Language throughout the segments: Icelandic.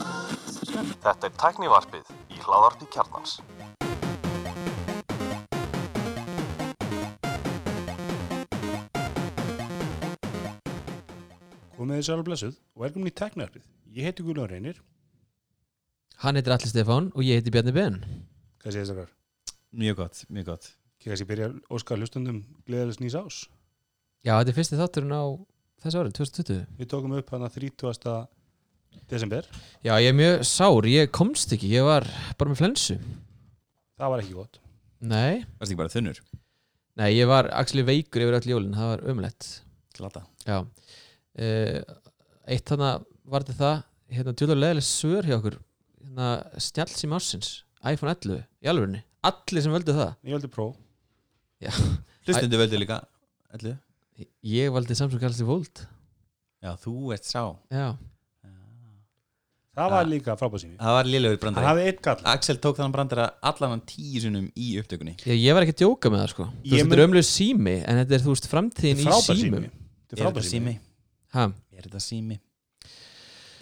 Þetta er tæknivarpið í hláðarpi kjarnans. Komið þið sæla blessuð og velkomin í teknarfið. Ég heiti Guðlun Reynir. Hann heitir Alli Stefán og ég heiti Bjarni Ben Hvað segir þessakar? Mjög gott, mjög gott. Ég kannski byrja að óska hlustundum gleðilegs nýs ás. Já, þetta er fyrsti þátturinn á þessu árið, 2020 Við tókum upp hana 30. desember. Já, ég er mjög sár, ég komst ekki, ég var bara með flensu Það var ekki gott. Nei, Varst ekki bara þunnur? nei, ég var axli veikur yfir öll jólin, það var ömulegt Glata. Já uh, Eitt þarna var þetta það, hérna djúlega leðileg svör hjá okkur hérna, Snjallsím ársins, iPhone 11 í alvörinni, allir sem völdu það Ég veldi pró. Hlustundu völdu líka. Ætlu? Ég valdi Samsung Galaxy Fold Já, þú ert sá. Já, Það var líka frábæðsými. Það var liðlegur Það brandari. hafði eitt gall. Axel tók þannig brandara allan hann tíu sinnum í upptökunni. ég, ég var ekki að djóka með það sko Þú Ég veist, Þetta er ömulegu sími, en þetta er þú veist framtíðin í símum Frábæðsými. Þetta er frábæðsými. sími? Ha, Er þetta sími?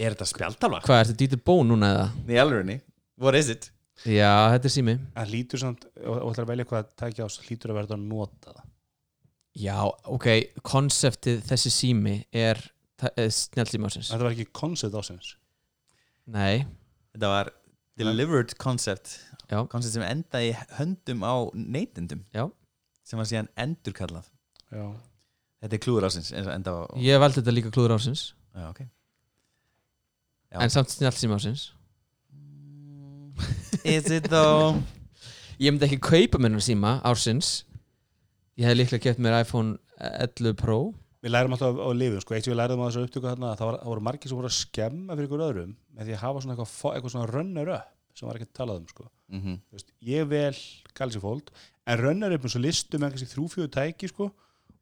Er þetta spjaldalva? hvað, ertu dýtur bón núna eða? Í alvörunni? What is it? Já, þetta er sími Það hlýtur samt, og og ætlar að velja hvað að tækja ás, hlýtur að verða að nota það. Já, ok, konseptið þessi sími er snjálfsími ásins Þetta var ekki koncept ásins. Nei, Þetta var delivered concept. Já. Concept sem endaði í höndum á neytendum. Já. Sem var síðan endurkallað. Já. Þetta er klúður ásins eins og enda á... ég valdi þetta líka klúður ásins Já, ok. Já. en samt snjálfsími ásins Is it though? Ég myndi ekki kaupa mér hann síma ársins Ég hefði líklega keft mér iPhone 11 Pro Við lærum alltaf á lifum, sko, eitt sem við lærum á þessu upptöku þarna, það, var, það voru margir sem voru að skemma fyrir ykkur öðrum með því að hafa svona eitthvað, fo- eitthvað svona runner-up sem var ekki að talað um, sko. mm Þú veist, ég vel Galaxy Fold en runnar upp eins og listum með kannski þrjú-fjöðu tæki sko,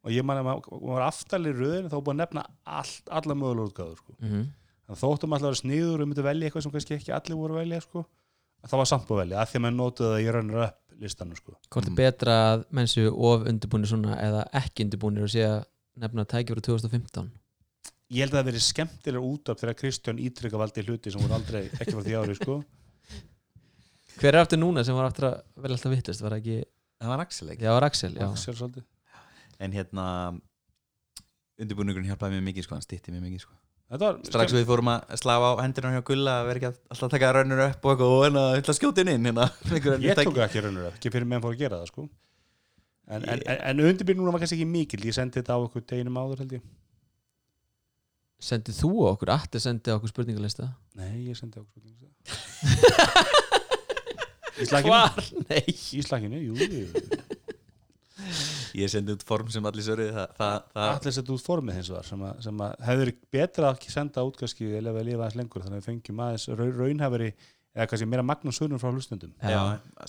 og ég man að maður maður var aftalir röðin þá var búið að nefna allt, alla mögulega útgáður sko. mm -hmm. þannig að þóttum alltaf að vera sniður og myndi velja eitthvað sem kannski ekki allir voru að velja sko. að það var samt búið að velja, að því að maður notaði það í runnar upp listanum sko. Hvort er Mm. betra að menn séu of undirbúinir svona eða ekki undirbúinir og sé að nefna tækifur 2015 ég held að það verið skemmtilega út af þegar Kristján Ítrygga valdi hluti sem voru aldrei ekki frá því ári sko. Hver er aftur núna sem var aftur að velja alltaf vittist? Var það ekki, Það var Axel ekki það var Axel, já Axel svolítið. En hérna undirbúningurinn hjálpaði mér mikið sko, hann stýtti mér mikið sko. þetta var Strax við fórum að slafa á hendurum hjá Gulla að vera ekki að- alltaf að taka rönnur upp og eitthvað og hérna, ég ætla að skjóta henni inn hérna. Einhver önnur ég tæki. tók ekki raunur ekki fyrir meðan fór að gera það sko. en, en, Ég- en, en undirbyrnum var kannski ekki mikil ég sendi þetta á okkur deginum áður held ég Sendið þú okkur, Atti sendið okkur spurningalista nei, ég sendi á okkur spurningu í slaginu, Hvar? Nei í slaginu jú, jú, jú. Ég sendi út form sem allir sörið það, það, það, allir sett út formið hins var sem, að, sem að hefur betra að ekki senda út kannski eða við lifa aðeins lengur þannig að við fengjum aðeins raun, raunhafari eða kannski meira magnum sönum frá hlustendum Já,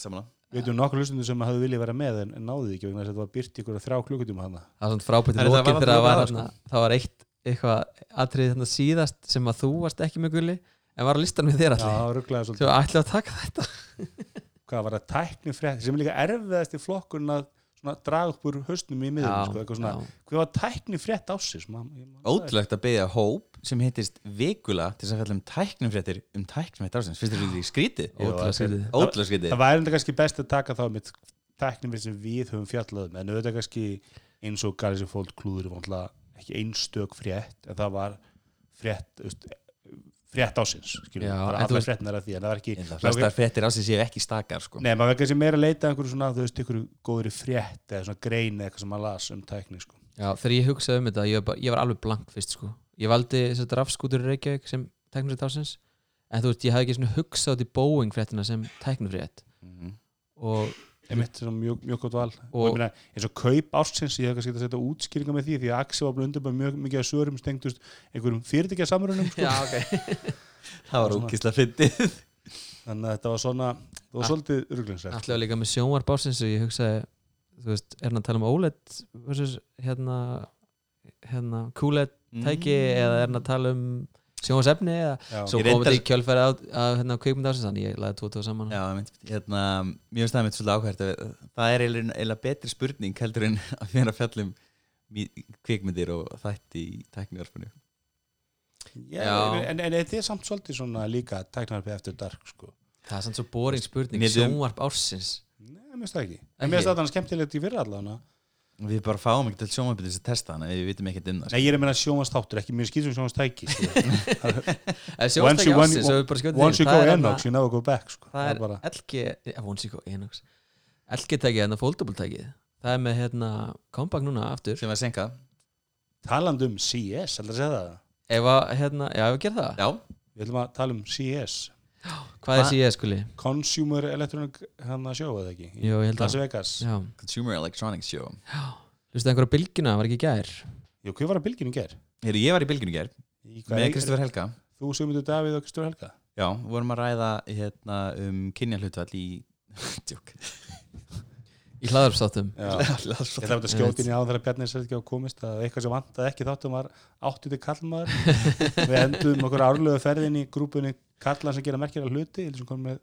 samanlega við veitum nokkur hlustendum sem hafi viljað vera með en, en náðið ekki vegna þess að þetta var byrt ykkur að þrjá klukkutíma hana Það var svona frábætt í Það er það lokin var þegar það var náttúrulega þarna Það var eitt eitthvað atriði þarna síðast sem að þú varst ekki með gulli en var á listan við þér Já, allir rugglaði svolítið Þú ætlaði að taka þetta hvað var það, tækni frétt sem er líka erfiðast í flokkurinn að svona, draga upp úr höstnum í miðum sko, eitthvað svona, já. hvað var tækni frétt ásins Ótrúlegt að beðja hóp sem heitist Vikula til þess að fjalla um tæknumfréttir um tæknumfrétt ársins. Finnst þér þetta í skríti? Ótrúlega skrítið. Ótrúlega skríti. það væri enda kannski best að taka þá með tækni frétt sem við höfum fjallað um en auðvitað kannski eins og Galaxy Fold klúður var náttúrulega ekki einstök frétt en það var frétt þú veist, frétt ásins skilur, Já, já, bara en þú allar veist- fréttnar af því en það var ekki Flestar fréttir ársins séu ekki stakar sko. Nei, maður verður kannski meira að leita að einhverju svona, þú veist, einhverju góðri frétt eða svona grein eða eitthvað sem maður las um tækni, sko. Já, þegar ég hugsaði um þetta, ég var, bara, ég var alveg blank fyrst sko Ég valdi þess að rafskútur í Reykjavík sem tæknurrétt ásins en þú veist, ég hafði ekki svona hugsað út í Boeing fréttina sem tæknurrétt Mhm. og einmitt, svona mjög, mjög gott val og, Og- ég meina, eins og kaup ársins ég hef kannski getað að setja útskýringa með því því að Axi var búin undirbæð mjög mikið að sögurum stengdust einhverjum fyrirtækja samrunum sko. Já, ok Það var ókislega fyndið. þannig að þetta var svona það var Ah. svolítið ruglinsrætt Allir var líka með sjónvarp ásins og ég hugsaði þú veist, er hann að tala um OLED versus hérna hérna QLED tæki Mm. eða er hann að tala um sjónvarsefni eða svo kom Ég reyndar- þetta í kjölfæri að, að hérna kveikmynd ásins þannig ég laði tvo og tvo saman Já, mynd, hérna, mér finnst það mitt svolítið áhvert að það er eiginlega eiginlega betri spurning heldur en að vera að fjalla um mí- kvikmyndir og þætti í tæknivarpunni Já, Já. en, en þetta er samt svolítið svona líka tæknarpið eftir dark sko. það er samt svo boring spurning Við höfum- sjónvarp ársins Nei, mér finnst það ekki En mér Ekki? finnst þetta skemmtilegt í fyrra allavega Við bara fáum ekkert til sjónvarpið til þess að testa hana Við vitum ekkert um það Nei, ég er að meina sjónvastáttur, ekki mér skýtum sjónvastæki sko. eða Once you- Eh, sjónvarp when- ársins ef við bara skjótum Once því, you það go er enox, you never go back sko. það er bara, LG ja, once you go Enox LG tækið, þannig hérna, foldable tækið það er með hérna comeback núna aftur sko. Sem var senka Talandi um CS, heldur að segja það ef að hérna, já ef við gerum það Já, Við ætlum að tala um CS hvað Hva- er CS skuli? Consumer Electronic hann að sjóa það ekki Jú, ég held Las að Vegas já, Consumer Electronics Show hlustu einhverja bylgina, var ekki í gær Jú, hvað var að bylginu ger? Heru, Ég var í bylginu í gær Í hvað Með er- Kristoffer Helga Þú Sigmundur Davíð og Kristofur Helga Já, vorum að ræða hérna, um kynjahlutfall í Djók í hlaðarpsáttum Já. Hérna, Ég ætla að þetta skjóti inn í áðan þegar Bjarni sér ekki á komist að eitthvað sem vantaði ekki þáttum var 80 kallmaður við endum okkur árlögu ferðin í grúpunni kallar sem gera merkjara hluti ég er sem kom með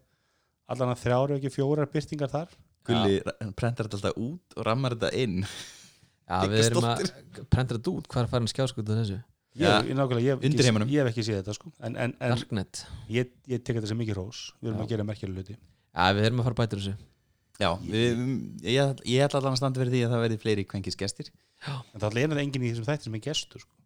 allan að þrjára ekki fjórar byrtingar þar Gulli ra- prentar þetta alltaf út og rammar þetta inn já, við erum að prentra þetta út hvað er að fara en skjáskútið þessu ég, Já. ég, nákvæmlega, ég, hef Undir ekki, heiminum. ég hef ekki séð þetta sko. en, en, en Darknet ég, ég tek þetta sem mikið rós við erum Já. að gera merkjara hluti já, við erum að fara að bæta úr þessu Já, við, ég, ég ætla allan að standa fyrir því að það verði fleiri kvenkis gestir en það er þetta enginn í þessum þætti sem er gestur sko.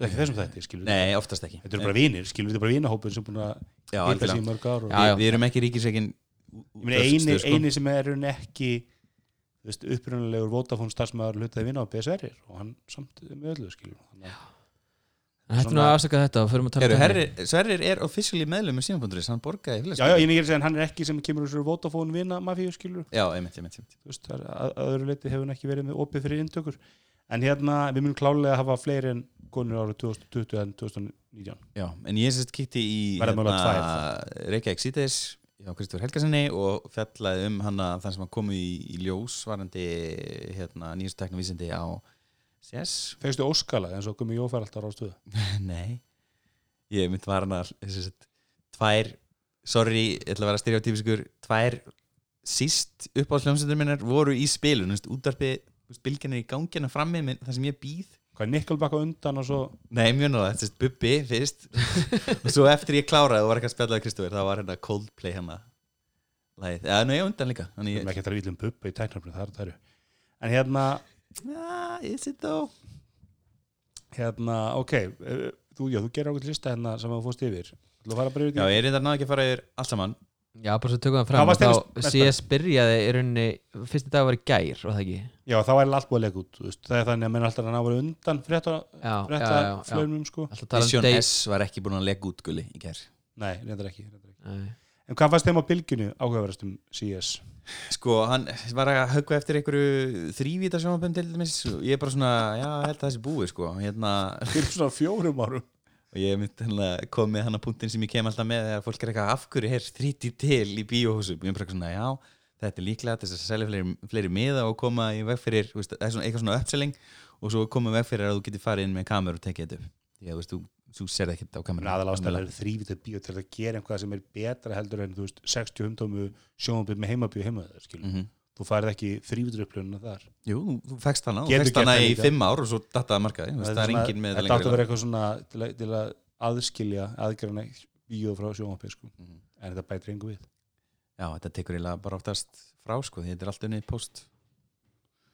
ekki þessum þætti, skilur við Nei, oftast ekki þetta eru bara vinir, skilur við þetta er bara vinahópur sem er búin að hitta Já, sko. sig algjörlega. í mörg ár og Já, já. Við- Við erum ekki ríkisreikin Ég meina, eini, eini sem er raun ekki þú veist, upprunalega Vodafone starfsmæður hlutaði vinna á BSR -ir og hann samt er með öllu skilur Þannig að- en hættum nú Svona- að afsaka þetta og förum að tala Heru, um herri, Sverrir er officially meðlum með símapunkturins, hann borgaði Já, já, ég er ekki að segja en hann er ekki sem kemur úr þessu Vodafone vinna mafíu skilur já, einmitt, einmitt, einmitt. þú veist, það er- að, að öðru leiti hefur hann ekki verið með opið fyrir inntökur en hérna, við munum klálega hafa fleiri en konur árið 2020 en 2019 Já, en ég sérst kíkti í hérna, Verða mögulega Reykjavík síðdeis hjá Kristofur Helgarsinni og fjallaði um hana þann sem hann komu í, í ljós varandi hérna, nýjustu teknum vísindi á CS Fegstu óskala eins og komið jófær alltaf á ráðstöðu Nei, ég mynd var hann að sérst, tvær, sorry, ég ætla að vera stereotypiskur tvær síst upp á hljómsöndur minnar voru í spilun, útdarpi bylginir í gangina frammi með það sem ég býð Hvað er Nikkelbakka undan og svo Nei, mjög nálega, þetta er Bubbi fyrst og svo eftir ég kláraði og var ekki að spjalla við Kristofur, það var hérna Coldplay hérna lagið, eða nú ég undan líka við þannig erum ég, ekki að tala ítlum bubba í tæknarbrið þar það eru en hérna, ah, is it though? hérna, ok eh, þú, já, þú gerir ákveð lista hérna sem þú fórst yfir Þú fara að breyða Já, ég reyndar náði ekki að fara yfir allt saman Já, bara svo tökum það Hvað fram varst að þér þá mest- CS byrjaði í rauninni, fyrsti dag var í gær og það ekki já, Já, þá er allt búið að leika út þú veist. það er þannig að menn alltaf að ná verið undan frétta, já, frétta já, já. flögnum sko. Alltaf tala um Vision day S var ekki búin að lega út gulli í gær Nei, reyndar ekki, reyndar ekki Nei. En hvað fannst þeim á bylginu áhugaverðast um CS? Sko, hann var að höggva eftir einhverju þrývíta sjónabönd til dæmis og ég er bara svona, já, ég held að þessi búið sko, hérna Fyrir svona fjórum árum og ég mynd hérna kom með hann að punktin sem ég kem alltaf með þegar fólk er eitthvað af hverju er þríti til í bíóhúsum, ég er bara eitthvað svona, já þetta er líklega til þess að selja fleiri, fleiri miða og koma í veg fyrir, þú veist, það er svona eitthvað svona uppselling og svo koma í veg fyrir að þú getur farið inn með kameru og tekið þetta upp, því að þú veist, þú, þú sér það ekkert á kameru En aðal ástæðan er þrývita bíó til að gera einhvað sem er betra heldur en þú veist 60 umdómu sjónabíð með heimabíó heimaður mm Mhm. Þú farið ekki þrývitur upplöfununa þar Jú, þú fekst hana, þú Getur fekst gert hana það í líka. fimm ár og svo dattaði markaði, þú veist, það er svona- engin með Þetta átt að vera lengur eitthvað svona til að, til að aðskilja aðgerðan bíó frá sjónabíð sko. Mhm. En þetta bætir engu við Já, þetta tekur eiginlega bara oftast frá, sko, því þetta er allt unnið post,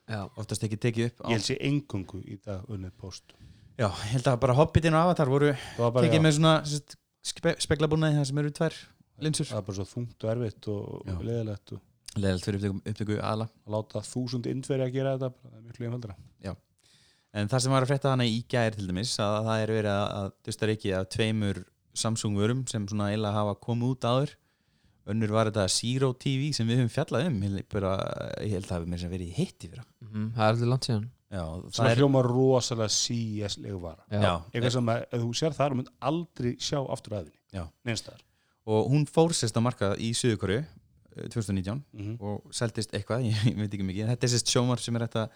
Já. oftast ekki tekið upp á, Ég held sér engungu í dag unnið post Já, ég held að bara Hobbitin og Avatar voru Það var bara, tekið já, með svona sérst, spe, speglabúnaði það sem eru tvær linsur það var bara svo þungt og erfitt og, Já. og leðilegt og leðalt fyrir upptöku, upptöku aðla að láta þúsund indveri að gera þetta bara, það er miklu einfaldra en það sem var að frétta hana í gær til dæmis að það er verið að, að dusta reiki af tveimur Samsung vörum sem svona eiginlega hafa komið út áður önnur var þetta Zero TV sem við höfum fjallað um ég, bara, ég held að það hafi mér sem verið hitt í fyrra Mhm, Það er allir langt síðan já, það svona er, hljóma rosalega CS-legu vara Já. já, eitthvað sem að ef þú sér þar þú mynd aldrei sjá aftur aðvinni Já. neinstaðar og hún fór sérst á markað í eh, Suðukoru 2019 mm -hmm. og seldist eitthvað, ég, ég veit ekki mikið en þetta er sérst sjómar sem er hægt að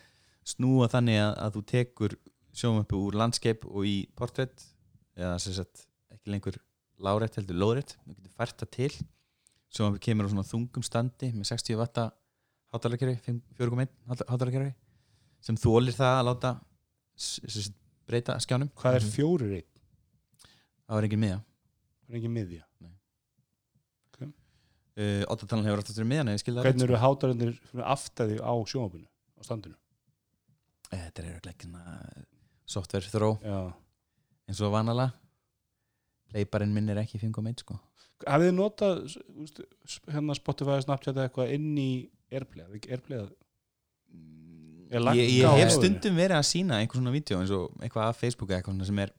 snúa þannig að, að þú tekur sjómarpu úr landskeip og í portrétt eða sérst ekki lengur lárétt heldur lórétt, þú getur fært það til sjómarpu kemur á svona þungum standi með 60 vatta hátalarkerfi 4.1 hátalarkerfi sem þólir það að láta sérst, breyta skjánum hvað er Mhm. fjórir einn? það var engin miða Það er ekki miðja uh, Ottatalan hefur alltaf verið miðan ef ég skil það Hvernig rétt, eru hátarendir aftæði á sjónvapinu á standinu? sko. Eh, Þetta er örugglega ekki svona eh, software þró Já. eins og vanalega Playbarinn minn er ekki 5.1 sko Hafið þið notað úst, hérna Spotify, Snapchat eða eitthvað inn í Airplay? Hafið þið ekki Airplay að Mm, Er langt ég, ég á hef áður? stundum verið að sína einhver svona vídeo eins og eitthvað af Facebook eða eitthvað svona sem er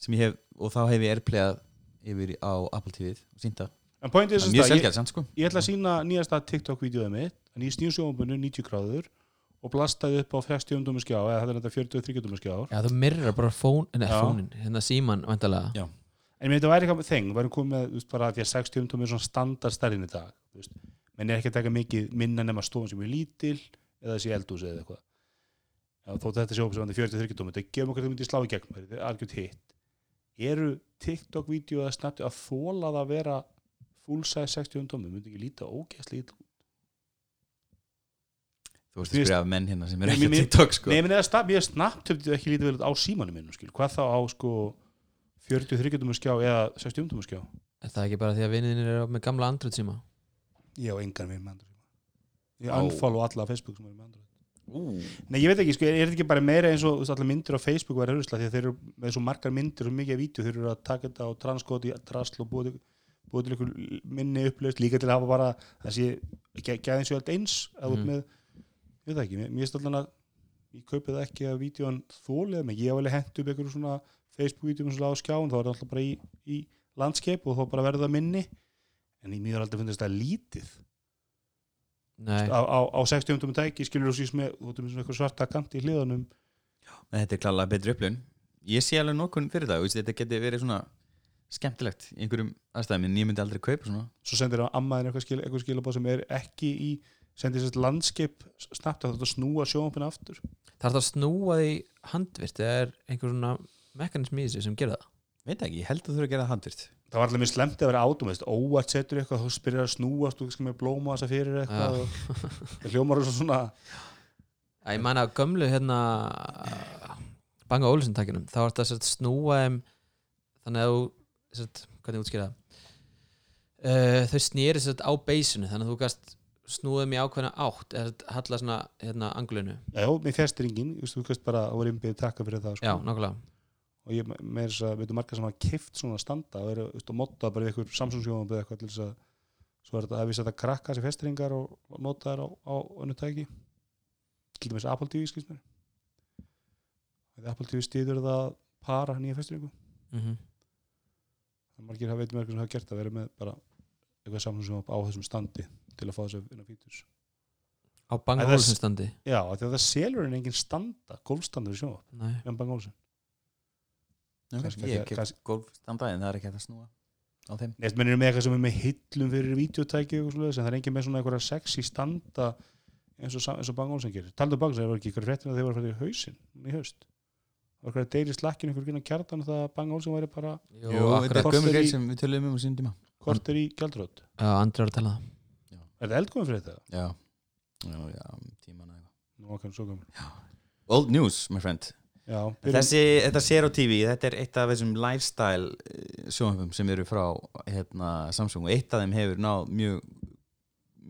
sem ég hef, og þá hef ég airplayað yfir í- á Apple TV-ið og sýnda En pointið er sem mjög sagt að ég, selgjald samt sko ég ætla að sína nýjasta TikTok-vídeóið mitt en ég snýr sjónvapinu 90 gráður og blastaði upp á 60 dómur skjá eða þetta er þetta 43 dómur skjá Já, þú mirrar bara fón, nei, Já. fónin hérna síman, vandalega Já. En ég meina þetta væri eitthvað þeng, við væri komið með, þú veist, bara að því að 60 tómið er svona standard stærðin í dag, þú veist, menn er ekki að taka mikið minna nema stofan sem er lítil eða þessi eldhús eða eitthvað. Já, þótt þetta sé opið sem hann er 43 tómið, þetta gefum okkur þetta myndi slá í gegn, þetta er algjörð hitt. Eru TikTok-vídeó eða snabbt að þóla það að vera full-size 60 tómið, myndi ekki líta ógeðslega ítl? þú veist Mér- að spyrja af menn hérna sem er Nei, ekki á mér- TikTok Sko. Nei, sko ég meina eða snabbt, ég snabbt hefði ekki lítið vel út á símanum minnum, skil, hvað þá á, sko, 43 tómið skjá eða 60 tómið skjá? Er það ekki bara því að vinninir eru með gamla andröð síma? Ég á engan veginn með Android sko. Ég Á. unfollow alla á Facebook sem er með Android Ú. Nei, ég veit ekki, sko, er er þetta ekki bara meira eins og þú veist, allar myndir á Facebook var örðusla því að þeir eru með svo margar myndir og mikið af vídeo þeir eru að taka þetta og transkóti drasl og búið, búið til ykkur minni upplöðst líka til að hafa bara þessi gæðin sér allt eins að út Mhm. með, ég veit það ekki, mér- mér stallan að ég kaupi það ekki að vídeoan þólið mig, ég hef alveg hent upp ykkur svona Facebook-vídeum svona á skjáin, þá er það alltaf bara í, í landskeip og þá bara verður það minni en ég mér aldrei fundist það lítið Nei, á, á, á 60 umtum tæki skilur þú sýst með, þú ert með svona eitthvað svarta kant í hliðanum Nei, þetta er klálega betri upplun ég sé alveg nokkun fyrir það, þú veist, þetta geti verið svona skemmtilegt í einhverjum aðstæðum en ég myndi aldrei kaupa svona svo sendir hann ammaðin eitthvað, skil, eitthvað skilabóð sem er ekki í sendir sér landskip snabbt að þetta snúa sjónvampin aftur þarf það að snúa því handvirt eða er einhver svona mekanismi í þessu sem gera það? veit ekki, ég held að þú þurfa að gera það handvirt það var alltaf mjög slemt að vera átum veist, óvart setur eitthvað, þú spyrir að snúast þú skilur með blóma þess að fyrir eitthvað Já. og, það hljómar þessu svona Já, ég man að gömlu hérna Bang og Ólfsson takinum þá er þetta sérst snúa þeim þannig að þú sérst, hvernig ég útskýra það uh, þau snýri sérst á beysinu þannig að þú gast snúðum í ákveðna átt eða sérst halla svona hérna anglunu já, með fjastringin, þú veist, þú veist bara það voru innbyggðið takka fyrir það já, sko. nokkulega og ég með þess að, veitum margar sem hafa kift svona standa og eru, þú veist, og modda bara við eitthvað Samsung sjónvampi eitthvað til þess að svo er þetta að vísa þetta krakka sem festringar og, og nota þær á, á önnu tæki til dæmis Apple TV, skilst mér Þegar Apple TV stýður það að para nýja festringu mm en margir hafa veitum margar sem hafa gert það verið með bara eitthvað Samsung sjónvampi á þessum standi til að fá þess að vinna fítus á Bang Æ, og það- Ólfsson standi Já, af því að það selur en engin standa golfstandur í sjónvamp, Nei. en Bang Olsen Kannski- ég kef kannski- golf en það er ekki hægt að snúa á þeim Neist, menn eru með eitthvað sem er með hillum fyrir videotæki og svona, en það er engin með svona einhverja sexy standa eins og, sa- eins og Bang Olsen gerir. Taldu Bang Olsen, það var ekki ykkur fréttina þegar þeir voru að fara í hausinn í haust. Það var eitthvað deyri slakkin ykkur gynna kjartan það að Bang Olsen væri bara Jú, Jú, þetta er akkurat. Korter gömur greið í- sem við töluðum um á sínum tíma korter í gjaldrótt. Já, Andri var að tala það Er þetta eldgóðum fyrir þetta? Já, já, já tíman eða eitthvað Nú okkar svo gammal. Old news, my friend Já, byrjum, Þessi, þetta sér á TV, þetta er eitt af þessum lifestyle sjónhöfum sem eru frá hérna, Samsung og eitt af þeim hefur náð mjög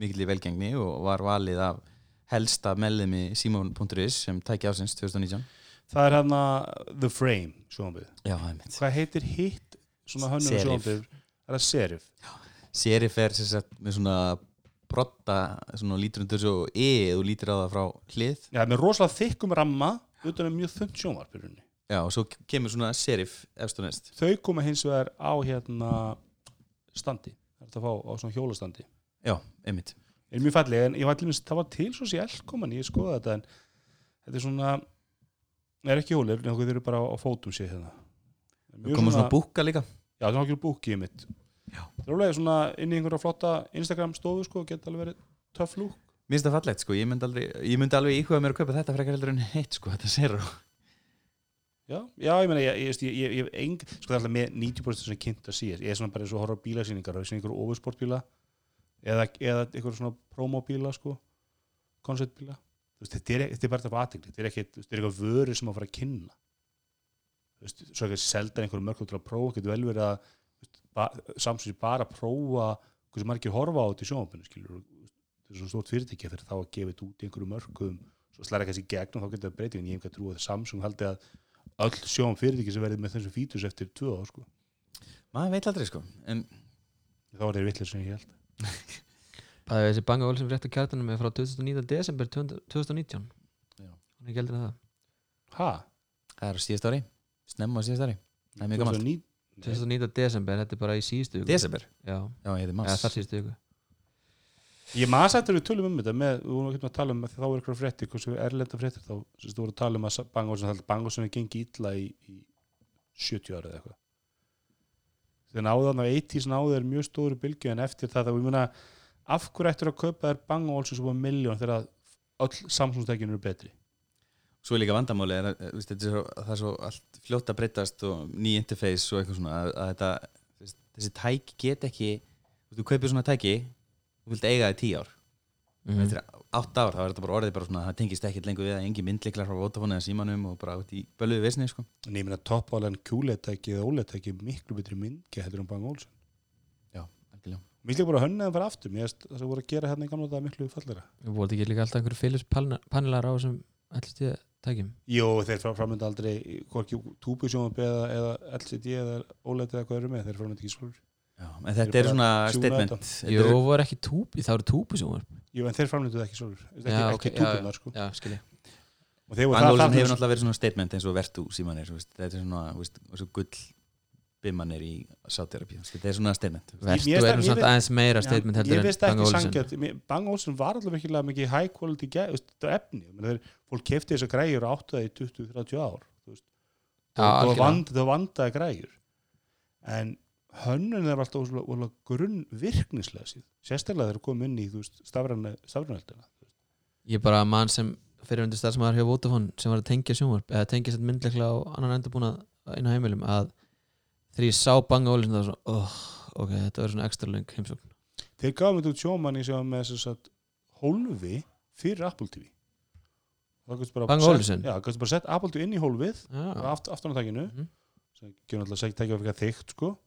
mikil í velgengni og var valið af helsta meðlemi Simon.is sem tæki ásins 2019 það er hérna The Frame sjónbið. Já, það er mitt Hvað heitir hitt svona hönnum Serif. sjónbið? Er það Serif? Serif er sem sagt með svona brotta, svona lítur undir svo e, þú lítur á það frá hlið Já, með rosalega þykkum ramma utan um mjög þund sjónvarpurunni. Já, og svo kemur svona serif efst og neðst Þau koma hins vegar á hérna standi. Það er þetta að fá á svona hjólastandi. Já, einmitt er mjög falleg en ég var til minnst, það var til svo sé elkoman ég skoða þetta en þetta er svona það er ekki hólið, en þau eru bara á fótum sér hérna Við komum svona búka líka já, það er okkur búkið mitt Já. það er alveg svona inn í einhverja flotta Instagram stofu sko, geta alveg verið töff lúk Mér finnst það fallegt sko, ég myndi, aldrei, ég myndi alveg íhuga mér að kaupa þetta frekar heldur en hitt sko, þetta sér já, já, ég meina, ég, ég, veist, ég, ég, ég hef eng, sko það er alltaf með 90% sem kynnt að síðast ég er svona bara eins og horfa á bílasýningar og ég sé einhver ofursportbíla eða, eða einhver svona promobíla sko, e-, konceptbíla Þú veist, þetta, er- þetta er bara þetta aðtegli, þetta er ekki þetta er eitthvað vöru sem að fara að kynna þú veist, svo ekki selda einhverjum mörgum til að prófa, getur vel verið að þú veist, ba samsins bara að prófa hversu margir horfa á þetta í sjónvapinu skilur, þetta er svo stort fyrirtækja fyrir þá að gefa þetta út í einhverjum mörgum svo slæra kannski í gegn og þá getur það breyting en ég hef ekki að trúa að Samsung haldi að öll sjónvapin fyrirtækja sem verið með þessum fítus eftir tvö ár sko, maður veit aldrei sko en þá er þeir vitlega sem ég held Það er þessi Bang Olsen frétt á kjartanum er frá 29. desember 2000 2019 Já. Hún er ekki eldur en það ha? það er á síðast ári, snemma á síðast ári Það er mjög gamalt. 2009? 2019. desember, þetta er bara í síðustu viku desember, Já, já ég heiti eða Mars þar síðustu viku Ég maður sættur við tölum um þetta með, við vorum ekki að tala um að þá er eitthvað fréttir, hversu erlenda fréttir þá sem þú voru að tala um að Bangosson Bangosson er gengið illa í, í 70 ára eða eitthvað þegar náðan á 80s náðu er mjög stóru bylgju en eftir það þá ég muna af hverju eftir að kaupa þær Bangosson sem var miljón þegar að öll samsónstækin eru betri svo er líka vandamáli er, að, eh, veist, þetta er svo, það er svo allt fljótt að breytast og ný interface og eitthvað svona að, að þetta, þess- þessi tæk get ekki þú kaupir svona tæki þú vilt eiga það í tíu ár Mhm. eftir átt ár þá er þetta bara orðið bara svona það tengist ekkert lengur við að engin myndliklar frá Vodafone eða símanum og bara út í bölluðu vesni sko. en ég meina toppálan QLED-tæki eða OLED-tæki er miklu betri myndgeð heldur um Bangosson já, algjörlega Mér líka bara hönnið að fara aftur, mér finnst það sem voru að gera hérna í gamla þetta miklu fallera Við vorum ekki líka alltaf einhverju Philips panel- panelar á þessum allir tíða tækjum Jó, þeir framönda aldrei hvorki túbusjónabbi eða, eða LCD eða OLED eða hvað eru með, þeir framönda ekki sjálfur já, en þetta Ég er bara svona tjúna statement þetta. Þetta Jú, eru- voru ekki túpi, það eru túpisjónar Jú, en þeir framönda ekki sjálfur ekki, Já, ekki ok, já, túbunar, sko Já, skilji og þeir voru Van það Olsen þarna hefur náttúrulega verið svona statement eins og vertu símanir þú veist, þetta er svona þú veist, og svo gull bimmanir í sátterapi þetta er svona statement þú veist. Verstu Mér- mér- er nú samt mér- aðeins meira Já, statement Ég heldur en veist Bang ekki Olsen sangjart, Bang Olsen var allavega virkilega mikið high quality gæ, veist, þetta efni, Ég meina, þeir, fólk kefti þessar græjur og áttu það í 20-30 ár þú veist. Já, það var algjörlega. vand, það var vandaði græjur en hönnun er alltaf óslega- óslega grunn virknislega síð sérstaklega þeir eru komið inn í þú veist, stafræna, stafrænaheldina Ég bara mann sem fyrir undir starfsmæðar hjá Vodafone sem var að tengja sjónvarp eða tengja sér myndleiklega á annan endabúnað inn á heimilum að þegar ég sá Bang Olsen það var svona oh, ok, þetta var svona ekstra löng heimsókn þeir gafum þetta út sjómanni sem var með þess að hólfi fyrir Apple TV Það gæstu bara Bang sett- Olsen? Já, gæstu bara sett Apple TV inn í hólfið Já, aft, aftanáttakinu Mhm. sem gefur náttúrulega segt tækja fyrir þygt sko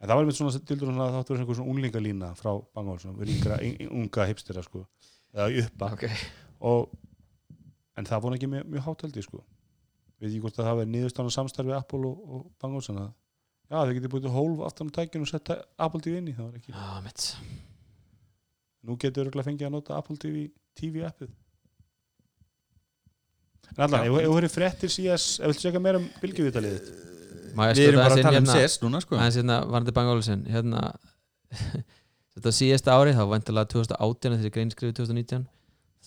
en það var einmitt svona dildur svona að það átti að vera einhver svona unglingalína frá Bang Olsen ríkra, unga hipstera sko eða í uppa ok og, en það voru ekki mjög, mjög háteldi sko veit ég hvort að það verið niðurstana samstarfi Apple og, og Bang Olsen að já þau getið búið hólf aftan á tækinu og sett Apple TV inn í það var ekki Já, mitt nú getur örgulega fengið að nota Apple TV TV appið en allan, Já. ef ef þú verið fréttir CS, ef viltu segja meira um bylgjuvitaliðið Má ég við erum skjóta aðeins inn bara að tala um hérna- CS núna sko aðeins hérna varandi Bang Olsen hérna þetta síðasta ári þá vantilega 2018 þegar grein skrifið 2019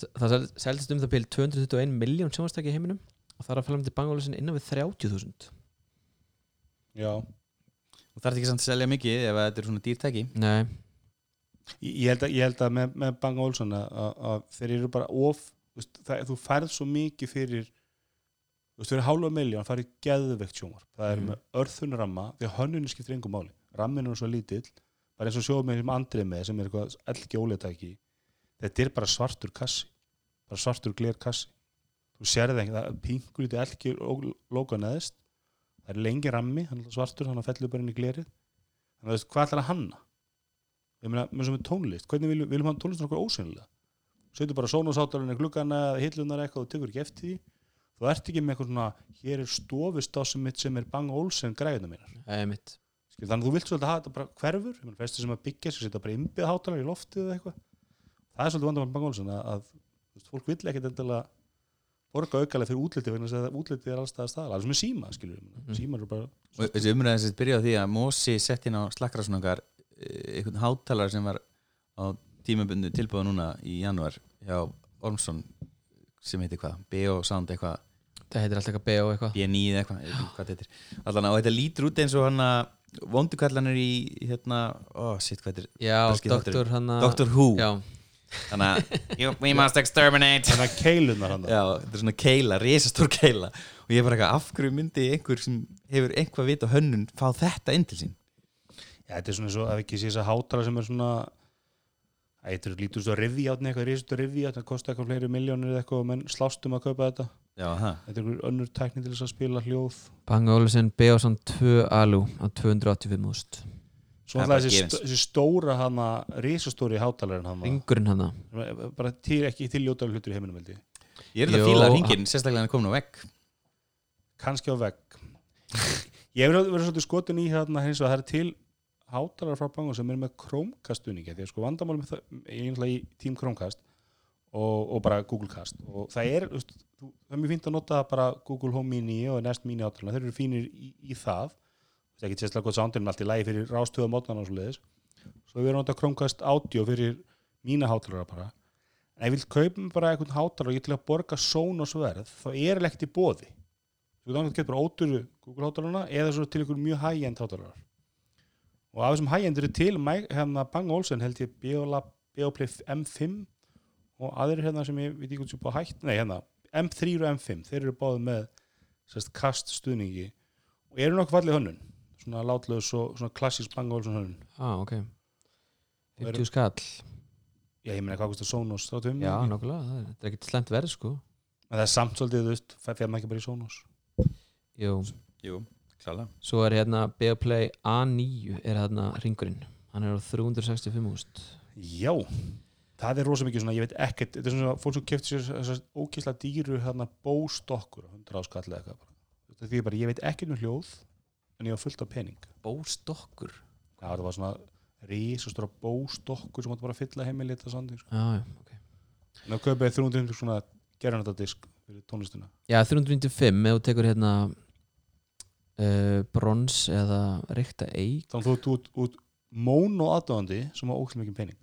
þ- það sel- seldist um það bíl 221 miljón sjónvastæki í heiminum og það er að falla um til Bang Olsen innan við 30.000 Eh, já þú þarf ekki samt að selja mikið ef að þetta er svona dýrtæki nei, Ég ég held að, ég held að með, með Bang Olsen að, að, að þeir eru bara of veist, það, þú færð svo mikið fyrir þú veist, fyrir hálfa miljón farið geðveikt sjónvarp, það er Mhm. með örþun ramma því að hönnunni skiptir engum máli ramminu er svo lítill, bara eins og sjóðum með sem andrið með sem er eitthvað elgi óleitæki þetta er bara svartur kassi bara svartur gler kassi þú sér það ekki, það er pingur lítið elgi lóka neðist, það er lengi rammi hann er svartur, hann fellur bara inn í glerið þannig að þú veist, hvað ætlar að hanna ég meina, með sem er tónlist, hvernig viljum, viljum hann tónlistin okkur ósynlega setur bara sónasátarinn í gluggana eða hillunar eitthvað og tekur ekki eftir því þú ert ekki með eitthvað svona hér er stofustásum mitt sem er Bang Olsen græðina mínar það er mitt Skil, þannig að þú vilt svolítið hafa þetta bara hverfur ég meina, flestir sem að byggja sig setja bara innbyða hátalar í loftið eða eitthvað það er svolítið vandamál Bang Olsen að, að þú veist, fólk vill ekkit endilega borga aukalega fyrir útliti vegna þess að útliti er allstaðar staðar alveg sem er síma, skilur við mm. Mhm. símar eru bara og þessi umræðin sem byrjaði á því að Mosi sett inn á slakkrasnungar einhvern hátalar sem var á tímabundu tilbúða núna í janúar hjá Ormsson sem heitir hvað, B.O. Sound eitthvað það heitir alltaf eitthvað B.O. eitthvað B9 eða eitthvað, ég veit ekki hvað þetta er allan og þetta lítur út eins og hann að vondukallanir í í hérna ó, sitt hvað þetta já, Breski doktor hann er Doctor Who, Ah, já, þannig að "You- we must exterminate þannig að keilunar hann já, þetta er svona keila, risastór keila og ég er bara eitthvað, af hverju myndi einhver sem hefur einhvað vit á hönnun fá þetta inn til sín Já, þetta er svona svo að ekki sé þess að hátara sem er svona Æ, þetta er lítur svo rivjátni eitthvað, risut rivjátni, það kosti eitthvað fleiri miljónir eða eitthvað og menn slást um að kaupa þetta já, það þetta er einhver önnur tækni til þess að spila hljóð Bang Olufsen Beosson 2 Alu á 285.000 svo Það er alltaf bara þessi, gefins. st þessi stóra hana risastóri hátalarinn hana ringurinn hann sem bara til ekki til ljótaður hlutur í heiminum veldi Ég er Jó, þetta að fíla hann- ringin, sérstaklega hann er komin á vegg kannski á vegg ég hef verið svolítið skotin í hérna hins og það er til hátalar frá Bang sem er með Chromecast-unningi því að sko vandamál með það, ég er náttúrulega í Team Chromecast og, og bara Googlecast og það er, þú veist, þú- það er mjög fínt að nota bara Google Home Mini og Nest Mini hátalarna þeir eru fínir í, í það það er ekki sérstaklega gott sándur en allt í lagi fyrir rástöða mótnana og svo leiðis svo við erum að nota Chromecast audio fyrir mína hátalara bara en ef við kaupum bara einhvern hátalara og ég til að borga Sonos verð þá er ekkert í bóði þú getur annað gett bara óduru Google hátalarana eða svo til ykkur mjög high-end hátalarar og af þessum high-end eru til Mike- hérna Bang Olsen held ég Beolab, Beoplay M5 og aðrir hérna sem ég veit ekki hvort sem búið að hætt nei hérna M3 og M5 þeir eru báði með sérst kast stuðningi og eru nokkuð fallið hönnun svona látlaus og svona klassísk Bang Olsen hönnun ah, ok Eru- 50 skall Já, ég meina hvað kostar Sonos þá tveim Mm. já, en nokkulega, það er- þetta er ekkert slemt verð sko það er samt svolítið, þú veist, fer maður ekki bara í Sonos Jú, Jú, klálega svo er hérna Beoplay A9 er hérna ringurinn hann er á 365.000 Já, það er rosa mikið svona, ég veit ekkert þetta er svona fólk sem kefti sér þessar ókysla dýru hérna bóstokkur, hundra áskall eða eitthvað bara. Þetta því bara, ég veit ekkert um hljóð en ég var fullt af pening bóstokkur Já, það var svona risastóra bóstokkur sem átti bara að fylla heimilið þetta sandi, sko. já, já, ok en það kaupaði 350 svona gerðanatadisk fyrir tónlistina Já, 395 ef þú tekur hérna uh, brons eða reykta eig þannig þú ert út, út mónu aðdóðandi sem á ókysla mikið pening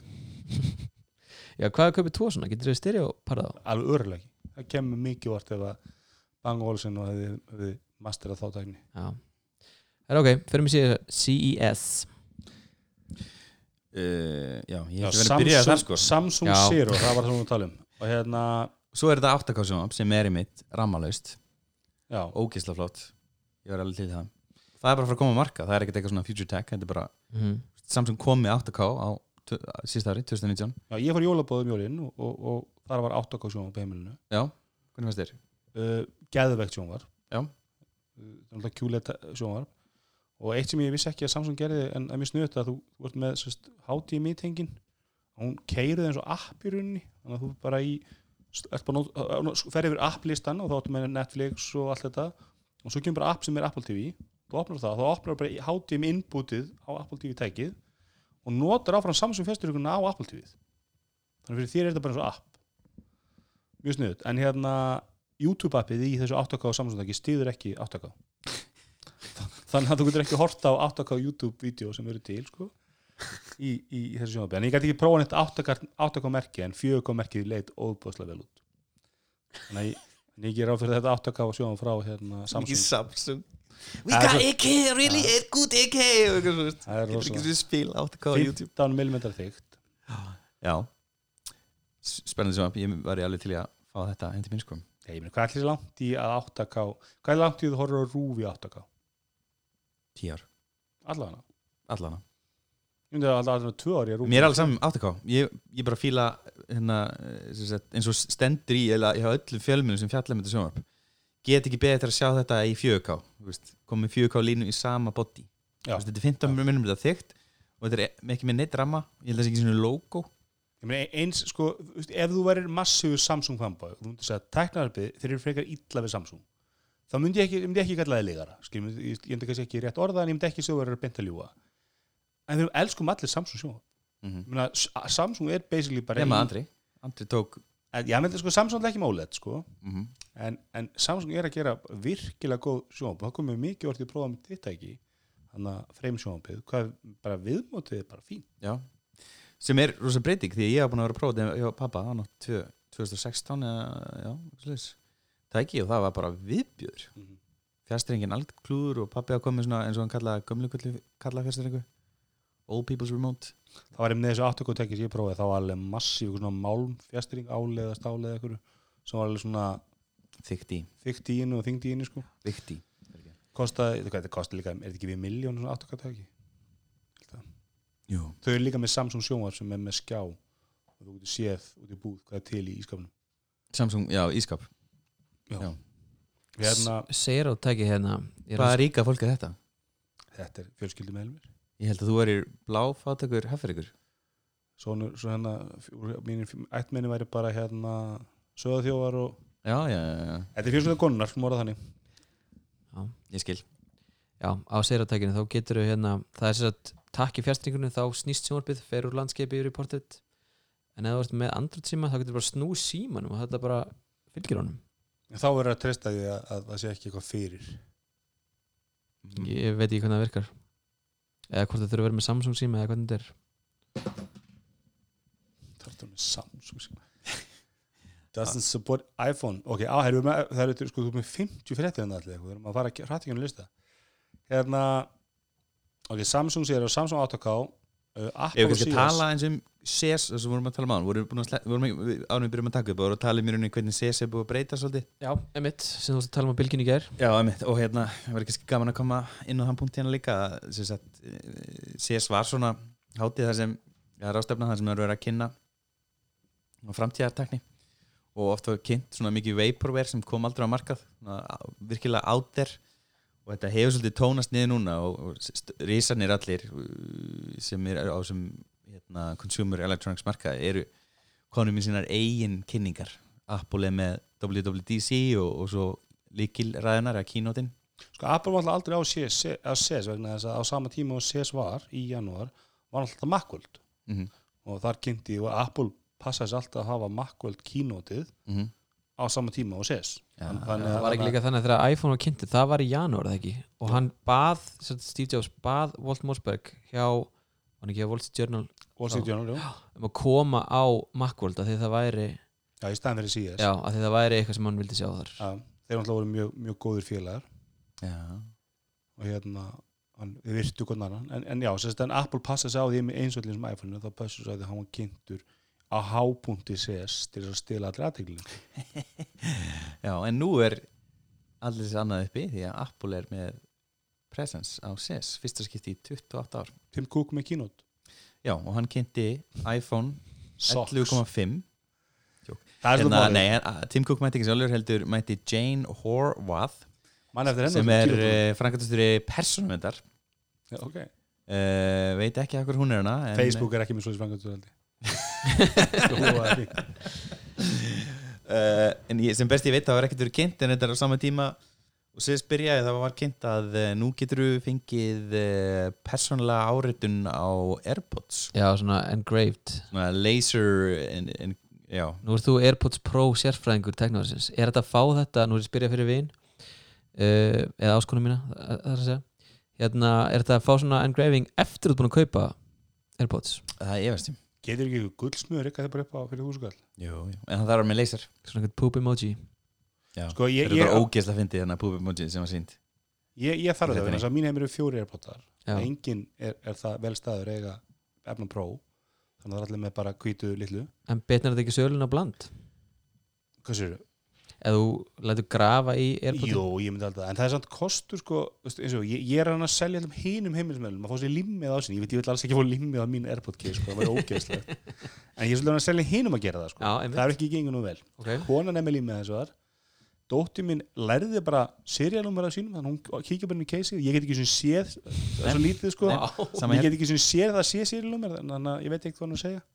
Já, hvað er kaupið tvo svona? Getur þið styrja og parað á? alveg örulega ekki það kemur mikið vart ef að Bang Olsen og hefði, hefði masterað þá tækni Já Það er ok, fyrir mig síðan E CES uh, Já, ég Já, hef verið að byrja þar sko Samsung Já. Zero, það var það sem við talum og hérna, Svo er þetta 8K sjónvarp sem er í mitt, rammalaust já, Ógisla flott, ég var alveg til í það Það er bara að fara að koma á marka, það er ekkert eitthvað svona future tech Þetta er bara, mm. Samsung kom með 8K á tö- sísta ári, 2019 já ég fór í jólabóðum jólinn og, og, og þar var 8K sjónvarp á heimilinu Já, hvernig fannst þér? uh, geðvegt sjónvarp Já. uh, kjúleita sjónvarp og eitt sem ég vissi ekki að Samsung gerði en að mér snuði þetta að þú, þú ert með sérst, HDMI tengin hún keirið eins og app í rauninni þannig að þú bara í ert bara nót- á- á- sko, fer yfir app-listan og þá áttu með Netflix og allt þetta og svo kemur bara app sem er Apple TV þú opnar það, þá opnar bara í- HDMI innbútið á Apple TV tækið og notar áfram Samsung festuruguna á Apple TV þannig að fyrir þér er þetta bara eins og app mjög snuðut, en hérna YouTube appið í þessu 8K samsóndaki stýður ekki 8K þannig að þú getur ekki horta á 8K YouTube vídeo sem eru til sko, í, í þessu sjónvarpi en ég gæti ekki prófa neitt 8K, 8K merki en 4K merkið leit óbúðslega vel út þannig að ég, en ég ger á fyrir þetta 8K sjónvarp frá hérna, Samsung Samsung We Það er svo- AK, really a good AK og eitthvað svona, Það er rosa. spil 8K 15mm þygt Já, S- spennandi sjónvarp, ég var alveg til í að fá þetta heim til minn sko Ég meni, hvað ætlir langt í að 8K hvað er langt í að þú horfir á rúfi 8K 10 ár, allavega, allan ég myndi að allavega tvö ári rúfi Mér er alveg saman 8K ég, ég bara fíla hérna, eh, sem sagt, eins og stendur í eða ég hafa öllum fjölminnum sem fjallum þetta sjónvarp get ekki betur að sjá þetta í 4K þú veist, komið 4K línu í sama body Já. Þú veist, þetta er 15 minnum þetta þygt og þetta er e- ekki með neitt ramma ég held að það sé ekki svona logo Ég meina eins, sko, þú veist, ef þú værir massífur Samsung fanboy og þú myndir segja teknararbið þeir eru frekar illa við Samsung þá myndi ég ekki, myndi ég ekki kalla það lígara Skil, ég myndi- ég, ég myndi kannski ekki rétt orða en ég myndi ekki segja þú verður að beinta ljúa en við elskum allir Samsung sjó mm -hmm. myna, Samsung er basically bara nema í- Andri, Andri tók en, já, myndi, sko, Samsung er ekki málet sko. mm -hmm. en, en Samsung er að gera virkilega góð sjónvamp það komið mikið orðið að prófa með þetta ekki þannig að frame sjónvampið hvað er bara viðmótið er bara fín Já. sem er rosa breyting því að ég hef búin að vera að prófa þetta hjá pappa hann á tvö- 2016 eða, já, slis. tæki og það var bara viðbjöður mm Mhm. fjastringin allt klúður og pappi að koma með svona eins og hann kallaði gömlugullu kallaði fjastringu old people's remote það var einmitt þessu 8K tekið sem ég prófaði þá var alveg massíf svona málm fjastring álega stálega ekkur sem var alveg svona þykti, þykkt í inu og þyngt í inu sko vikti kostaði, þetta- hvað þetta kosti líka, er þetta ekki við miljón svona 8K teki Jú. þau eru líka með Samsung sjónvar sem er með skjá og þú getur séð út í búð hvað er til í ískapnum Samsung, já, ískap Já. Já. hérna, Zero tæki hérna Ég er Hvað að- er ríka fólk er þetta? þetta er fjölskyldum meðlumir Ég held að þú erir blá fátökur hafverkur svona, svona hérna, úr mínir ættmenni væri bara hérna söðaþjófar og Já, já, já, já, þetta er fjölskyldum konunar, sem voru þannig ég skil Já, á Zero tækinu þá getur þau hérna Það er sér að takk í fjastringunum þá snýst sjónvarpið fer úr landskepi yfir í portrétt En ef þú ert með andrútt síma þá getur bara snúið símanum og þetta bara fylgir honum en þá verður að treysta því að, að það sé ekki eitthvað fyrir Ég veit ekki hvernig það virkar Eða hvort það þurfa að vera með Samsung síma eða hvernig þetta er Tartum með sko, Samsung síma. Doesn't support iPhone Ok, á, heru, með, það eru sko, þú ert með 50 fréttir en allir, við erum að fara hrættingunum lista Hérna Ok, Samsung sér og Samsung 8K uh, Ef Apple CS við kannski að tala eins um SES þess að vorum að tala um án, vorum við búin að sle- vorum ekki- við- áður en við byrjum að taka upp, vorum við að tala um í rauninni hvernig SES er búið að breyta svolítið Já, emitt, sem þú veist að tala um á bylginni í gær Já, einmitt, og hérna, það verður kannski gaman að koma inn á þann punkt hérna líka að, sem sagt, eh, CS var svona hátíð þar sem, já, rástefna þar sem það verður að kynna á framtíðartakni og oft var kynnt svona mikið vaporware sem kom aldrei á markað svona, á- virkilega out there og þetta hefur svolítið tónast niður núna og, og st- risanir allir uh, sem er á sem hérna, consumer electronics markaði eru konum í sínar eigin kynningar Apple er með WWDC og, og svo líkilræðunar eða kínótin Sko, Apple var alltaf aldrei á CS, á CS vegna þess að á sama tíma og CS var í janúar var alltaf Macworld mm og þar kynnti og Apple passaði sér alltaf að hafa Macworld kínótið -hmm. á sama tíma og CS Já, Þannig Það var ekki líka þannig að þegar iPhone var kynnti það var í janúar eða ekki og hann bað, sem sagt, Steve Jobs bað Walt Mossberg hjá, hann ekki hjá Wall Street Journal Wall Street Journal, jú. um að koma á Macworld að því það væri já, í staðan fyrir CS já, að því það væri eitthvað sem hann vildi sjá þar Já, þeir alltaf voru mjög, mjög góðir félagar Já, og hérna hann virtu hvern annan en, en já, sérst, en Apple passa sig á því með einsvöldin sem iPhone þá passa sig á því að hann var kynntur á hábúnti CS til þess að stila allir aðteglin Já, en nú er allir þessi annað uppi því að Apple er með presence á SES fyrsta skipti í 28 ár Tim Cook með kínót Já, og hann kynnti iPhone Socks. 11,5 það er svo Hérna, málið, nei, en, Tim Cook mætti ekki sjálfur heldur mætti Jane Horvath mann eftir henni sem á er kínótunum. uh, frangatastur persónumendar Já, okay. uh, veit ekki að hver hún er hana en, Facebook er ekki með svolítið frangatur uh, en ég, sem best ég veit það var ekkert verið kynnt en þetta er á sama tíma og síðan byrjaði það var kynnt að eh, nú getur þú fengið uh, persónlega áritun á Airpods já, svona engraved svona laser en, en, já, nú ert þú AirPods Pro sérfræðingur teknóðarsins er þetta að fá þetta, nú er ég að spyrja fyrir vin uh, eða áskonum mína það það er að segja hérna, er þetta að fá svona engraving eftir þú ert búin að kaupa AirPods það er efastum getur ekki gullsmjör eitthvað bara upp á fyrir húsgall en það þarf með laser svona eitthvað poop emoji já. sko, ég, þetta er ég, bara ógeðslega fyndið þannig að púpi emoji sem var sínt ég, ég þarf Þetta það er vegna þess að mín heimur eru fjóri airpotar já, enginn er, er það vel staður eiga efna pró þannig að það er allir með bara hvítu litlu en betnar þetta ekki söluna bland hvað sér eða þú lætur grafa í AirPods Jú, ég myndi alltaf, en það er samt kostur sko, veistu, eins og ég, ég er hann að selja allum hinum heimilismennum, að fá sér limmið á sinni ég veit, ég vil alls ekki fá limmið á mín Airpod case sko, það var ógeðslegt, en ég er svolítið að selja hinum að gera það, sko, já, það einmitt er ekki gengur nú vel okay. konan er með limmið þessu þar dóttir mín lærði bara serialumverða sínum, þannig hún kíkja bara inn í case ég get ekki sem séð, það er svo lítið sko Nei, sama ég hér. get ekki sem séð að það sé serialumverð þannig að ég veit ekki hvað hann að segja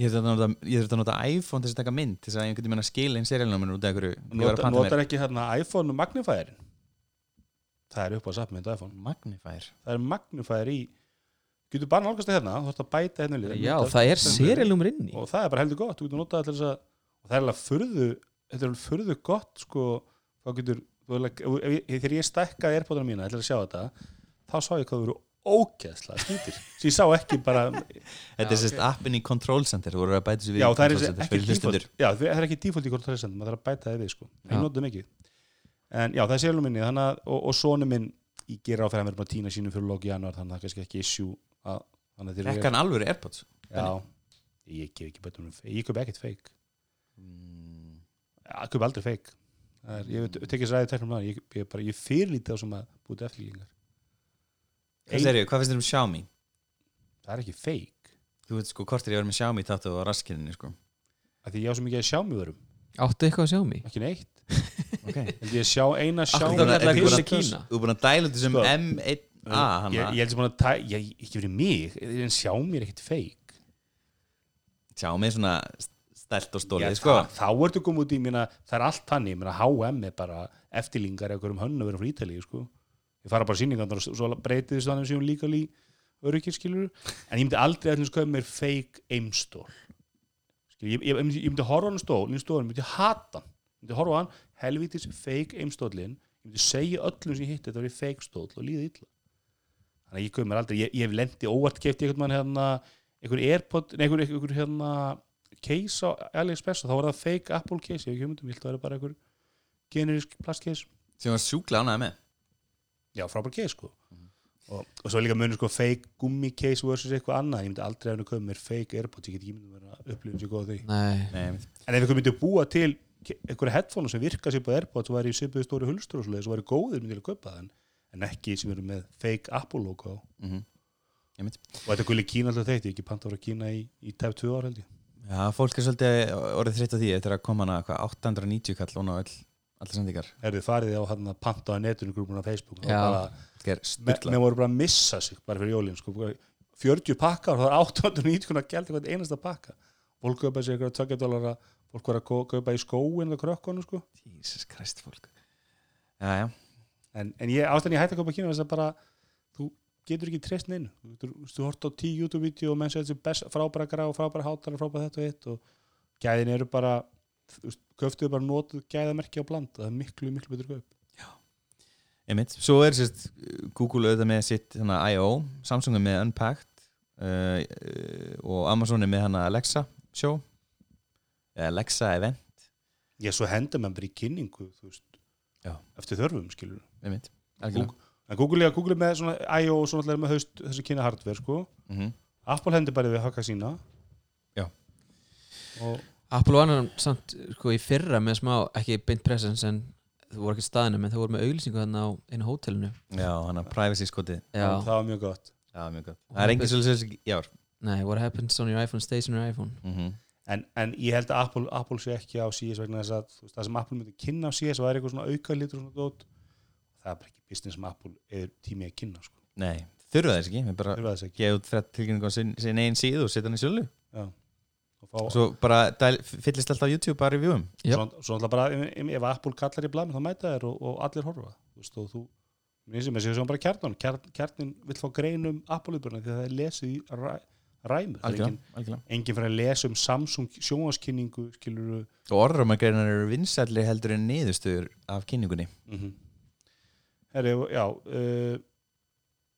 ég þurfti að nota, ég þurfti að nota iPhone til þess að taka mynd til þess að ég geti meina skil einn serialnumur út af einhverju ég var að Nota, panta mér notar ekki hérna iPhone og Magnifierin það er upp á sapmynd á iPhone Magnifier það er Magnifier í getur bara nálgast það hérna, þú þarfst að bæta hérna lið, já, það er serialumur inni og það er bara heldur gott, þú getur notað það til þess að og það er alveg furðu þetta er alveg furðu gott sko þá getur, þú er alveg- ef ég- þegar ég stækkaði airpodana mína, ætlaði að sjá þetta þá sá ég hvað þú eru ógeðslega skýtir sem ég sá ekki bara já, þetta er sérst appin í Control Center þú voru að bæta þessu við það er Control Center ekki fyrir hlustendur. default já, það er ekki default í kortræðisendum, maður þarf að bæta það við sko ég Já. notið mikið en já, það er sérlum minni, þannig að og, og sonu minn, ég ger á fyrir að hann verður bara tína sínum fyrir loki januar, þannig að það er kannski ekki issue að, þannig að þeir Fékk hann alvöru Airpods Já, ég gef ekki bötunum ég kaup ekkert feik, Mm, ég kaup aldrei feik er, ég hef tekið þess ræði teknum það ég, ég, bara, ég fyrirlítið á sem að búið eftirlíkingar hvað Ein- segirðu, hvað finnst þér um Xiaomi? það er ekki feik, þú veit sko hvort er ég var með Xiaomi þátt og raskirinni sko af því ég á svo mikið að sjá mjög verum áttu eitthvað að sjá um mig ekki neitt ok held ég að sjá eina sjá Akkur þá Þú er kallar búin Gulla að- Kína. þú er búin að dæla þetta sem Sko. M1A ég, hana. ég held sem búin að tæ, ég, ekki verið mig, en sjá mér ekkert feik sjá mig svona stælt og Já, stólið sko. það- þá ertu komið út í minna, það er allt þannig, minna HM er bara eftirlingar eða hverjum hönnu verið frá Ítalíu sko. ég fara bara sýningarnar og s- svo breytið þessu þannig sem líka lí öryggjir skilur, en ég myndi aldrei allir skoða mér feik eimstól skilur, ég, ég, ég, myndi- ég myndi horfa á hann stól í stólinn, ég myndi hata hann ég myndi horfa á hann, helvitis feik eimstólin ég myndi segja öllum sem ég hitti þetta verið feik stól og líða illa þannig að ég gauð mér aldrei, ég, ég hef lendi óvart keft einhvern mann hérna, einhver airpod nei, einhver, einhver hérna case á AliExpress og þá var það fake Apple case, ég hef ekki hugmyndum, ég held að það er bara einhver generisk plastcase, sem var sjúkla ánæði með já frábær case sko og, og svo líka munur sko fake gummi case versus eitthvað annað, ég myndi aldrei að koma mér fake AirPods, ég get ekki myndum vera að upplifa sér góð á því, Nei, Nei, en ef einhver myndi búa til ke- einhverja headphone sem virka sér på AirPods og væri í svipuðu stóri hulstur og svoleiðis og væri góðir myndi ég að kaupa þann, en ekki sem eru með fake Apple logo á. mm -hmm. og þetta gulli Kína alltaf þeitt, ég hef ekki panta voru Kína í, í tæf tvö ár held ég já, fólk er svolítið orðið þreytt á því eftir að koma hana hvað, 890 kall og ná all, allar sendingar er þið farið á hann að panta á netinu grúmuna á Facebook, þá Já. bara þetta er Me- styrla menn voru bara að missa sig bara fyrir jólin sko. 40 pakkar og það er 890 kuna gælt eitthvað einasta pakka fólk kaupa sér eitthvað 20 dólar fólk voru að kau- kaupa í skóin og krökkunum sko. Jesus Christ fólk já, já, en, en ég ástæðan ég hætti að kaupa kína þess að bara þú getur ekki treyst neinu þú, getur- þú, þú hort á 10 YouTube-vídeó og menn sér þessi best, frábæra grá og frábæra hátara frábæra þetta og hitt og gæðin eru bara þú veist, köftuðu bara notuð gæðamerki á bland það er miklu, miklu betur kaup einmitt svo er sérst Google auðvitað með sitt hana, I.O. Samsung er með Unpacked uh, uh, og Amazon er með hana Alexa show Eða Alexa event ég svo hendur menn bara í kynningu þú veist, Já. eftir þörfum skilur einmitt Google, en Google, ja, Google er með svona I.O. og svona allir með haust, þessi kynna hardware sko. mm -hmm. Apple hendur bara við haka sína Já. og Apple var hann samt sko, í fyrra með smá, ekki beint presence en þú voru ekki á staðinu, menn þau voru með auglýsingu þarna á einu hótelinu já, hana privacy skotið það var mjög gott Mhm. já, mjög gott það er engin svolítið í ár Nei, what happens on your iPhone stays on your iPhone mm -hmm. en, en ég held að Apple, Apple sé ekki á CS vegna þess að þú veist, það sem Apple myndi kynna á CS væri eitthvað svona auka litur og svona dót það er bara ekki business sem Apple er tími að kynna sko. nei, þurfa þess ekki við bara það er þess ekki gefa út frett tilkynningu á sinn, sinn einn síðu og setja hann í sölu og fá, svo, svo bara dæl, fyllist alltaf YouTube bara reviewum Jep. svo, svo náttúrulega bara ef, ef- ef Apple kallar í blam þá mæta þér og, og allir horfa þú veist, og þú Mér sem er bara kjarnan, Kjarn, kjarnin vill fá greinum Apple-upurna því að það er lesið í ræ, ræmu, það er engin, algjörlega algjörlega. enginn fyrir að lesa um Samsung sjónvaskynningu skilur og orðramagreinar eru vinsælli heldur en niðurstöður af kynningunni mm -hmm. Herri, já uh,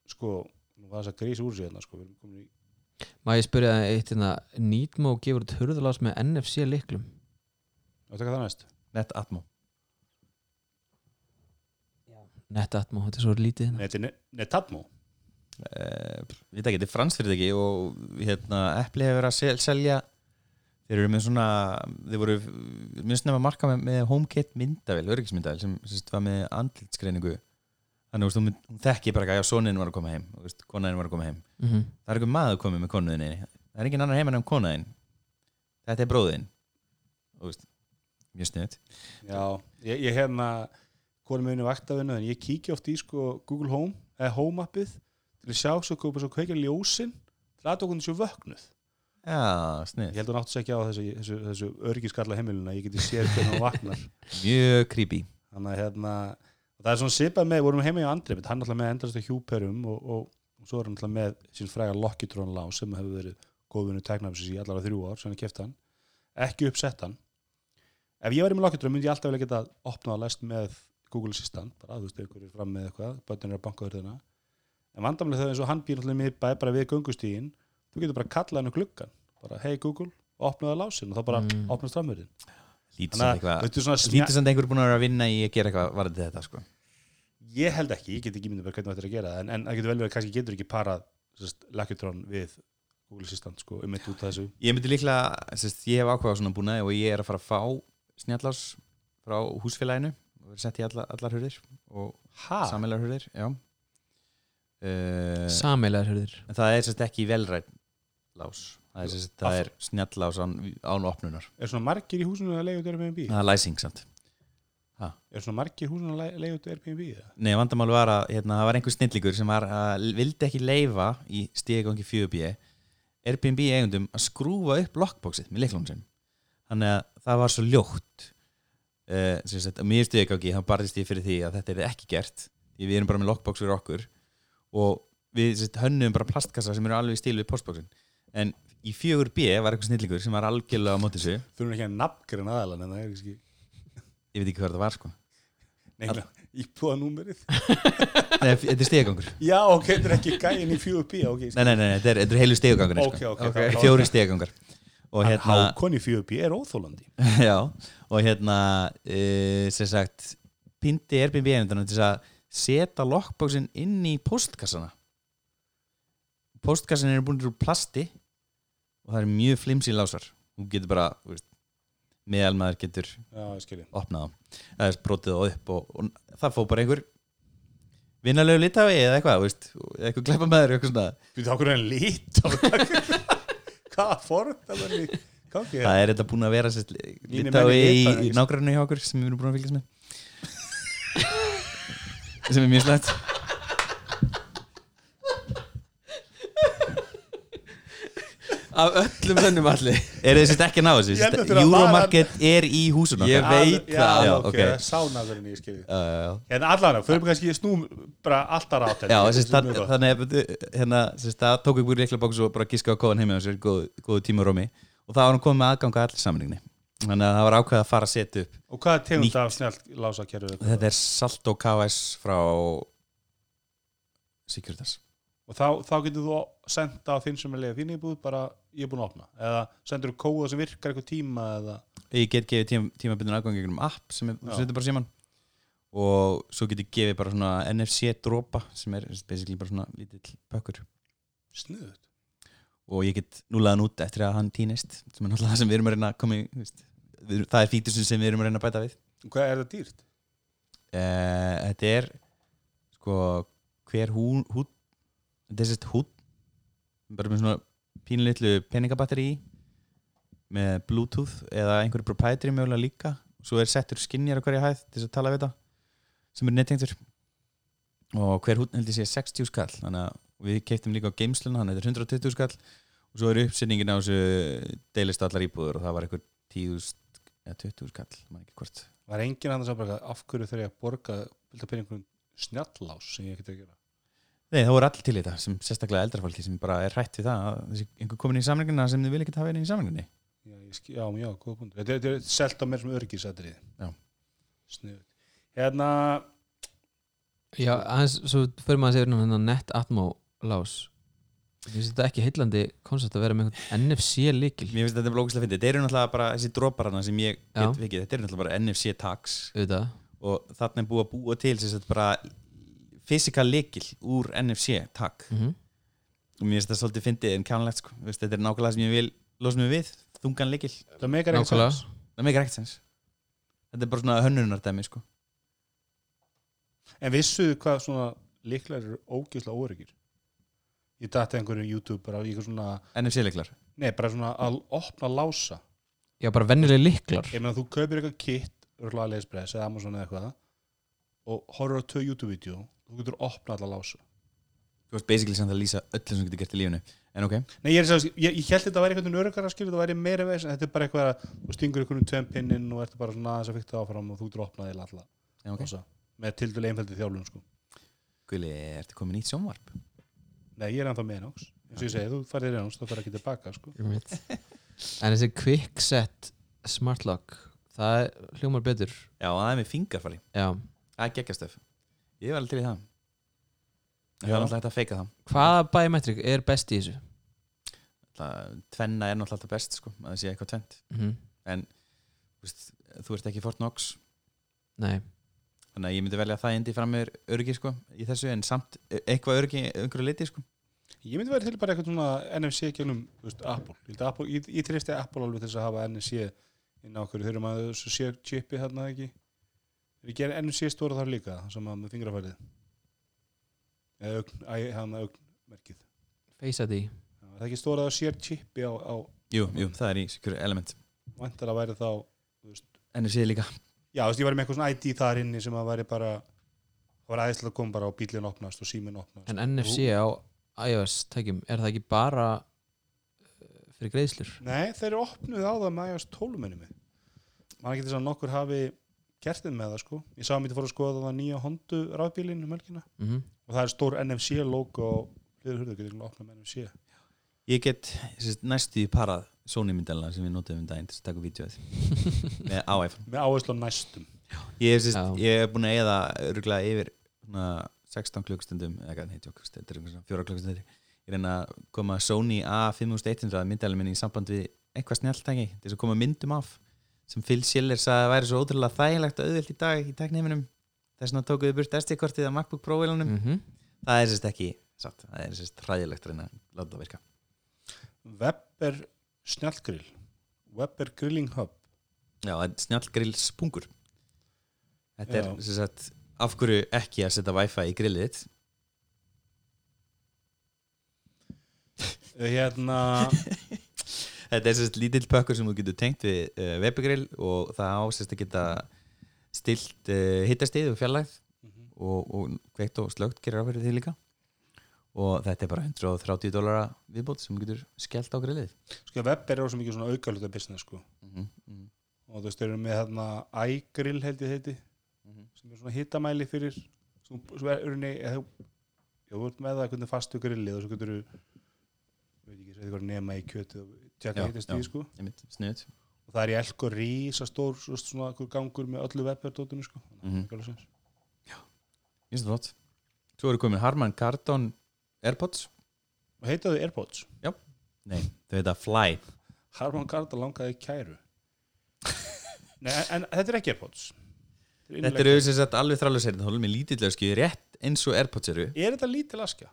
sko, nú var þess að grísa úr sér hérna, sko, við erum komin í Má ég spyrja það eitt hérna Nýtmó gefur út hurðalás með NFC liklum að taka það næst nett atmo Netatmo, þetta er svo lítið hérna Neti- ne- Netatmo, uh, við ekki, þetta er frans fyrir ekki og hérna, Apple hefur verið að sel, selja þeir eru með svona þeir voru minnst nefn að marka með, með HomeKit myndavél, öryggismyndavél sem, sem sagt var með andlitsgreiningu þannig að hún, mynd- hún þekki bara ekki að sonin var að koma heim og konaðin var að koma heim mm -hmm. það er einhver maður komið með konuðinni það er engin annar heimann um konuðin þetta er bróðin og veist, mjög sniðut já, ég, ég hérna konum einu vaktavinu, en ég kíkja oft í sko Google Home, eða Home appið til að sjá svo koma svo kveikja ljósin til að okkur þessu vöknuð já, ég sniðut, held að hún átti sig ekki á þessu, þessu, þessu örgiskalla heimilina, ég geti séð hvernig hún vaknar mjög creepy þannig að hérna og það er svona sipað með, við vorum heima í Andri hann er alltaf með endrast að hjúperum og, og, og svo er hann alltaf með sín fræga Lockitron lás sem hefur verið góðvinu tæknafsins í allara þrjú ár sem hann kefti hann ekki uppsett hann ef ég væri með Lockitron myndi ég alltaf vilja geta opnað að læst með Google Assistant bara, þú veist, ef ykkur er fram með eitthvað, bötnin er að banka þurðina en vandamlega það er eins og hann býr alltaf með bæ bara við göngustígin þú getur bara kallað hann um gluggan bara, hey Google, opnaðu lásin og þá bara Mm. opnast framhörðin lítið samt þannig að eitthvað þetta er svona smjá- lítið samt einhver búin að vera að vinna í að gera eitthvað varðið þetta sko Ég held ekki, ég get ekki myndið bara hvernig þetta er að gera það, en, en það getur vel verið að kannski getur ekki parað sérst, Lakutron við Google Assistant sko, um eitt út af þessu ég myndi líklega, sérst, ég hef ákveða svona búin og ég er að fara að fá snjallás frá húsfélaginu og verið sett í alla, allar hurðir og Ha? sammelar hurðir já uh, Sameilegar hurðir en það er sérst ekki velrætt lás það er, sérst, það Af- er snjallás án, án opnunar Er svona margir í húsinu að leiða út erum við en bí? það er læsing samt Ha? er svona margir húsin að leiða út Airbnb eða? Nei, vandamál var að hérna, það var einhver snillingur sem var að vildi ekki leifa í stíðgangi 4B Airbnb eigundum að skrúfa upp lockboxið með leiklunum sinn þannig að það var svo ljótt uh, sem sagt, að mér stíðgangi hann barðist ég fyrir því að þetta er ekki gert því við erum bara með lockbox fyrir okkur og við sem sagt, hönnum bara plastkassa sem eru alveg í stíl við postboxin en í 4B var einhver snillingur sem var algjörlega á móti þessu þurfum ekki að nafngreina aðalan en það er ekki ég veit ekki hvað það var sko neina íbúðanúmerið Nei, þetta er stíðgangur já ok, þetta er ekki gæin í 4B ok, Nei, nei, nei, nei, þetta er, þetta er heilu stegagangur Ok, ok, ok. Fjóri stegagangur Og en hérna, hákon í 4B er óþólandi já, og hérna e, sem sagt pindi Airbnb eigendunum til þess að setja lockboxin inn í postkassana Postkassan er búin úr plasti og það er mjög flimsi lásar þú getur bara, þú veist, meðalmaður getur já, ég skilji opnað það það er brotið það upp og, og það fór bara einhver vinnarlegu litafi eða eitthvað, þú veist, eða eitthvað gleppamæður eitthvað svona við þá hvernig hann lít á hvað fórt að verði gangi Það er þetta búin að vera sérst, Mínir litái menn í í, Litái, í ekki nágrannu hjá okkur sem við erum búin að fylgjast með sem er mjög slæmt af öllum þennum allir Er þið sérst ekki að ná þessu? Ég Sem held sagt, þetta að Euromarket er í húsum Ég okkar. veit já, það. já, Já, ok, ok. okay. sánaðurinn ég skilji Já, já, já. en allan, förum kannski snúm bara alltaf rátt Já, sérst, það, þannig að hérna, sérst, það tók ykkur leikla bóks og bara giska á kóðan heim og sér góð, góðu tíma rómi og það var hann komið með aðganga allir sammenninginni þannig að það var ákveð að fara að setja upp og hvað tegund Nýtt. af snjált lásakerfi Þetta er Salto KS frá Securitas og þá, þá getur þú sendt á þinn sem er leiða þín íbúð bara ég er búin að opna eða sendur þú kóða sem virkar eitthvað tíma eða ég get gefið tíma, tímabundin aðgang gegnum app sem er, Já. þú setur bara síman og svo get ég gefið bara svona NFC dropa sem er basically bara svona lítill pökkur snuðut og ég get núlaðan út eftir að hann týnist sem er náttúrulega það sem við erum að reyna að koma í þú veist, við, erum- það er fíktusun sem við erum að reyna að bæta við hvað er það dýrt? uh, þetta er sko hver hún hút þetta er sérst hút bara með svona pínlitlu peningabatteri í með bluetooth eða einhverju proprietary mögulega líka svo er settur skinnjar á hverja hæð til þess að tala við þetta sem er nettengtur og hver hútt heldur sé 60 skall þannig að við keiptum líka á geimsluna þannig að þetta er 120 skall og svo er uppsetningin á þessu deilist allar íbúður og það var einhver 10 eða 20 skall, maður ekki hvort var enginn annars að bara af hverju þegar ég að borga vilja penja einhvern snjallás sem ég get að gera Nei, það voru allir til í þetta sem sérstaklega eldra fólki sem bara er hrætt við það að þessi einhver komin í samlingina sem þið vil ekki hafa inn í samlinginni já, ég skil, já, já, góða punkt þetta, þetta er selt á mér sem örgisætrið Já. snuðut hérna, já, aðeins, svo fyrir maður að segja hérna net atmo lás ég finnst þetta ekki heillandi koncept að vera með einhvern NFC líkil Mér finnst þetta er blókislega fyndið, þetta eru náttúrulega bara þessi droparana sem ég Já. get vikið, þetta eru náttúrulega bara NFC tags auðvitað, og þarna er búið að búa til sem sagt bara fysikal lekil úr NFC tag mm og mér finnst þetta svolítið fyndið en kjánlegt sko, Þú veist, þetta er nákvæmlega sem ég vil losa mig við, þungan lekil það meikar ekki nákvæmlega sens. það meikir ekkert sens Þetta er bara svona hönnunardæmi sko en vissuðu hvað svona líklar eru ógislega óörgir ég dati einhverju YouTube bara í eitthvað svona, NFC leklar nei, bara svona að opna lása já, bara vennilega líklar ég meina þú kaupir eitthvað kit örgulega Aliexpress eða Amazon eða eitthvað og horfur á tvö YouTube-vídeó þú getur opnað alla lásu Þú veist basically samt að lýsa öllu sem þú getur gert í lífinu En ok, Nei, ég, er sem sagt- ég, ég held þetta að vera einhvern örgar að skilja þetta væri meira veis en þetta er bara eitthvað að þú stingur einhvern tveim pinnin og ertu bara svona aðeins að fykta áfram og þú getur opnað eða alla Já, ok. lása með tildulega einfældi þjálfum sko Gulli, ertu komið nýtt sjónvarp? Nei, ég er ennþá með náks eins og ég segi, þú farir ennþá, þú farir ekki tilbaka sko Ég veit. en þessi quickset smart lock það er- hljómar betur Já, það er með fingarfari já. Það er geggjastöf Ég var alveg til í það Já. Ég var alltaf hægt að feika það hvaða biometric er best í þessu Það- Tvenna er náttúrulega alltaf best sko, að það sé eitthvað tvent Mhm. Þú veist, Þú ert ekki Fort Knox nei, Þannig að ég myndi velja það indi fram með öryggi sko, í þessu en samt e, eitthvað öryggi einhverju liti sko. Ég myndi verið til bara eitthvað svona NFC gegnum þú veist, Apple. Ég, held að Apple, ég, ég treysti Apple alveg til þess að hafa NFC inn á okkur. Þau eru maður svo sé chipi þarna ekki. Við gerum NFC stóra þar líka, sem að með fingrafærið. Eða augn, æ, hann augnmerkið. face ID Já, er Það er ekki stóra það sér chipi á, á Jú, jú, það er í secure element vantar að væri þá, þú veist, En það sé líka já, þú veist, ég var með eitthvað svona ID þar inni sem að væri bara það var aðeinslega að koma bara og bílinn opnast og síminn opnast En NFC á iOS tækjum, er það ekki bara eh, fyrir greiðslur? Nei, þeir eru opnuð á það með iOS 12 minnum við mann getur sann nokkur hafi gert þeim með það sko ég sá að mér fór að skoða það nýja Honda rafbílinn um helgina Mm og það er stór NFC logo hliður hurðu, getur opnað með NFC Ég get sérst, næstu í parað Sony myndalina sem við notum um daginn til þess að taka vídjóð með á iPhone með áherslu á næstum Ég hef, sérst, Já. ég hef búin að eða örgulega yfir svona, 16 klukkstundum eða hvað, nei, tjók, þetta er einhver svona 4 klukkstundir ég reyna að koma Sony A5100 myndalina minni í samband við eitthvað snjáltæki til þess að koma myndum af sem Phil Schiller sagði að væri svo ótrúlega þægilegt og auðvilt í dag í tekneiminum þess vegna tókuðu burt SD-kortið af MacBook Pro-vilunum -hmm. það er sérst ekki satt, það er sérst ræðilegt að reyna að láta það virka Webber snjallgrill Webber Grilling Hub Já, það er snjallgrill spungur Þetta er Já. sem sagt af hverju ekki að setja wifi í grillið þitt Uh, hérna, Þetta er sem sagt lítill pökkur sem þú getur tengt við uh, webgrill og það á sem sagt að geta stilt uh, hittastið og fjarlægð og, og kveikt og slögt gerir á fyrir því líka og þetta er bara 130 dólara viðbót sem þú getur skellt á grillið sko Webber er svo mikið svona aukaluta business sko mm -hmm. og þú veist, þeir eru með hérna iGrill held ég heiti Mhm. sem er svona hitamæli fyrir sem, sem er urni eða þú- já, þú ert með það hvernig fastu grillið og svo getur þú ég veit ekki, segðu hvað nema í kjötu og tjekka Já, hittast já. því sko Einmitt, snuðt og það er í elko rísastór svo- svona einhver gangur með öllu Webber-dótinu sko Mhm. Make alveg sens. Ég finnst það flott Svo eru komin Harman Kardon Airpods og heitaðu Airpods Nei, þau heita Fly Harman Kardon langaði í kæru Nei, en, en þetta er ekki Airpods Þetta er Þetta innlegg- eru sem sagt alveg þrálusherinn Það er með lítillasku rétt eins og Airpods eru Er þetta lítil askja?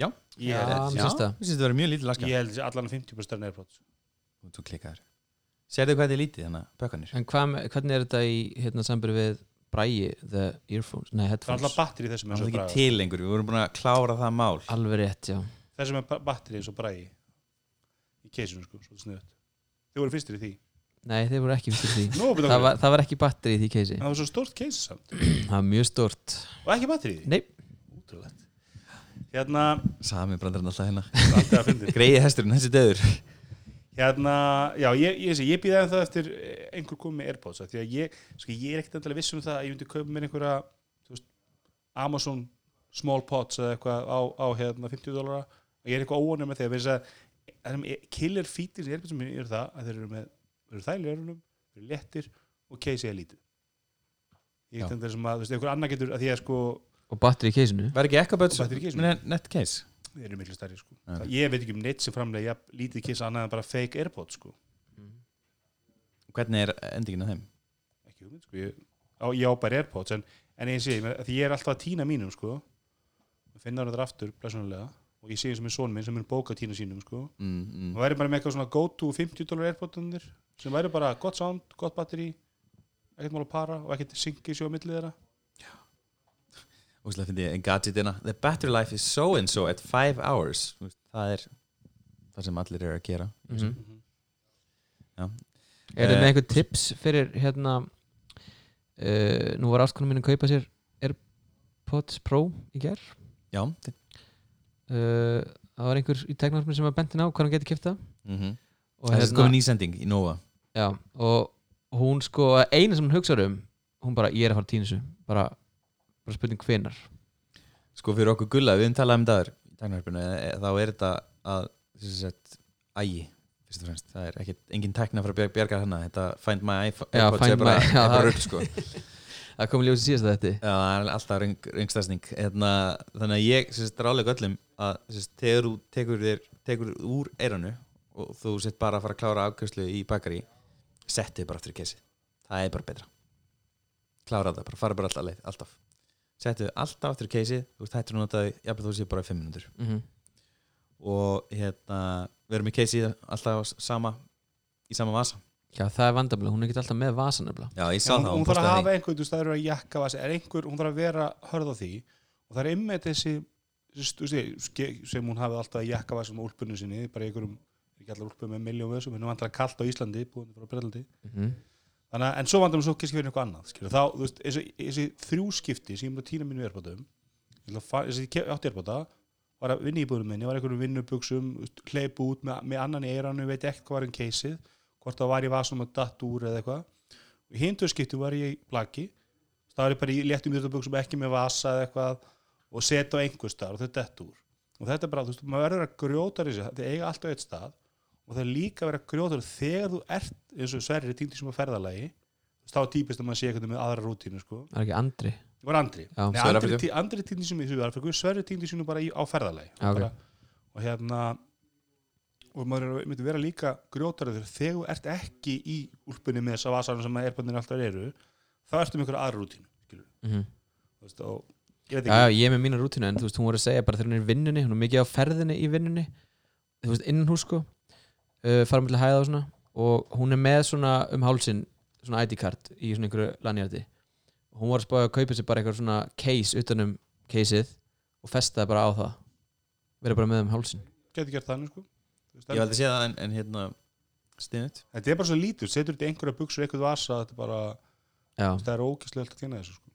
Já. Ég, Já, held- mér finnst Já, það. mér finnst það verið mjög lítillaska ég held þessi allan 50% er Airpods Og þú klikkaður Sérðu hvað þetta er lítið þannig að bökkanir En hvað, með- hvernig er þetta í hérna, sambur við bræi, the earphones, nei Það er headphones alltaf batteri í þessum Það eins er og ekki bræði til lengur, við vorum búin að klára það mál Alveg rétt, já Þessum er batteri eins og bræði í keisinu sko, svolítið sniðut Þau voru fyrstir í því Nei, þeir voru ekki fyrir því Nú, betur það, okkur. var, það var ekki batteri í því keisi En Það var svo stórt keisi samt Það var mjög stort og ekki batteri í því Nei, Útrúlegt Hérna, Sami brandarinn alltaf hérna alltaf að fyndi Greiði hesturinn, þessi döður Hérna, já, ég, ég, ég, ég býði aðeins það eftir eh, einhver komið með Airpods af Því að ég, sko, ég er ekkert endalega viss um það að ég myndi kaupa mér einhverja þú veist, Amazon small pots eða eitthvað á, á hérna 50 dólara og ég er eitthvað óanum með því að við þess að það sem er- killer features í Airpodsum mínu eru það að þeir eru með þeir eru þæli örunum, þeir eru lettir og keisið er lítið Ég er Já. ekkert endalega sem að, þú veist, einhver annar getur að því að sko, og batteri í keisinu Var ekki ekkaböts, Og þetta er ekki eins og- nett case þeir eru miklu stærri sko. Já. Ég veit ekki um neitt sem framlega jafn lítið keisa annað en bara fake Airpods sko. Hvernig er endingin á þeim? ekki hugmynd sko, ég, á, ég á bara Airpods en, en ég sé, ég meina, því ég er alltaf að týna mínum sko, finna hann þetta aftur blessunulega, og ég sé eins og minn son minn sem mun bóka tína sínum sko, Mm, og mm. væri bara með eitthvað svona go to 50 dólar Airpodsunir, sem væri bara gott sound, gott batteri ekkert mál að para og ekkert syngi sjó að milli þeirra Og slega finnst ég gadgetina hérna. The battery life is so and so at 5 hours Þú veist, Það er það sem allir eru að gera Mhm. mm -hmm. Já. Er það Eh, með einhver tips fyrir hérna uh, Nú var áskonum minn að kaupa sér AirPods Pro í ger Já, þetta uh, Það var einhver í teknarsminn sem var bentin á hvað hann geti kipta mm -hmm. og, hérna- Það er komin nýsending í Nova já, og hún sko, eina sem hún hugsar um hún bara, ég er að fara að tína þessu bara, bara spurning hvenar sko fyrir okkur gulla, við höfum talað um dagur í tæknarhörpinu, þá er þetta að þess að sett ægi fyrst og fremst, það er ekkit, engin tækna frá bjar, bjargar hana, hérna. þetta find my iPhone Já, AirPods Find er bara, My- er já, bara það- upp sko já, Það kom í ljósi síðast að þetta það er alltaf röng, röngstæsning hérna, þannig að ég sérst rálega öllum að sérst, þegar þú tekur þér tekur þér úr eiranu og þú sett bara að fara að klára afkjörslu í bakari settu þið bara aftur í kesi það er bara betra klára það bara, fara bara alltaf leið, alltaf settu þið alltaf aftur í kesi, þú veist hættur að nota þau jafnvel þú sé bara í 5 minútur mm -hmm. og hérna við erum í keisi alltaf á s- sama í sama vasa Já, það er vandamlega, hún er ekki alltaf með vasan nefnilega já ég hún, hún þarf að hafa einhvern, þú veist, það eru að jakka vasa, er einhver, hún þarf að vera hörð á því og það er ymmið þessi þessi- þú veist, ske- sem hún hafi alltaf að jakka vasa með úlpunum sinni, bara í einhverjum ekki allar úlpum með miljón vöðsum, en hún vantar að kalt á Íslandi búin frá Brelandi mm -hmm. Þannig Þannig að, en svo vandum við svo kannski fyrir eitthvað annað, skilur, þá, þú veist, þessi, þessi þrjú skipti sem ég múið að týna mínu erbátum, þessi ég átti erbáta, var að vinna í búðum minni, var einhverjum vinnubuxum, þú veist, hleyp út með, með annan í eiranu, veit ekki hvað var um keysið, hvort það var í vasum að datt úr eða eitthvað. Í hindu skipti var ég í plaki, það var ég bara í léttum yfirbuxum, ekki með vasa eða eitthvað og setja á einhver stað og þetta dett úr. Og þetta er bara, þú veist, maður verður að grjóta þessi, þið eiga alltaf eitt stað og það er líka að vera grjótar þegar þú ert eins og sverri týndi sem að ferðalagi þú veist, þá er típist að maður sé eitthvað með aðra rútínu sko. það er ekki andri það var andri Já, Nei, Sverrir andri, Afríku. tí, andri týndi sem í Suður-Afriku sverri týndi sem bara í, á ferðalagi Já, ok. bara, og hérna og maður er- myndi vera líka grjótar þegar þú ert ekki í úlpunni með þess að vasanum sem að erböndin alltaf eru þá ertu með einhverja aðra rútínu skilur, mm þú veist, og ég veit já, ekki já, ég er með mína rútinu en þú veist, hún voru að segja bara þegar hún er í vinnunni hún er mikið á ferðinni í vinnunni þú veist, innan hús sko uh, fara mjög hæða og svona og hún er með svona um hálsin svona ID-kart í svona einhverju lannjáti hún var að spája að kaupa sér bara eitthvað svona case utanum caseið og festa það bara á það vera bara með um hálsin geti gert þannig sko. Þú veist, Ég veldi að sé það en, en hérna Stinnut þetta er bara svo lítið, setur þetta í einhverja buksur eitthvað vasa, þetta er bara, já, það er ókýrslega að týna þessu sko.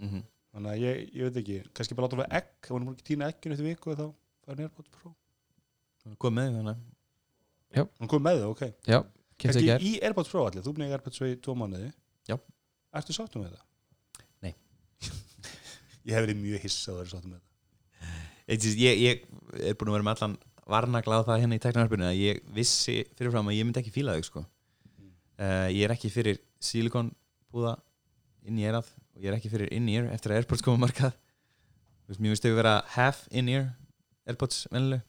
mm -hmm. þannig að ég, ég veit ekki, kannski bara láta hún vera egg þá hún múið ekki týna egginu eftir viku og þá fær hún AirPods Pro Kom með því þannig hún kom með það, ok, kemst ekki hér í AirPods Pro allir þú búin að eiga AirPods Pro í tvo mánuði Já. ertu sáttum með það? Nei. ég hef verið mjög hissað að vera sáttum með það Eitt sést, ég, ég er búin að vera með allan varnagla á það hérna í teknarhörpunni að ég vissi fyrirfram að ég myndi ekki fíla þau sko. uh, ég er ekki fyrir silikonbúða inn í erað og ég er ekki fyrir in-ear eftir að Airpods koma á markað Þú veist, mér finnst þau vera half in-ear Airpods vennileg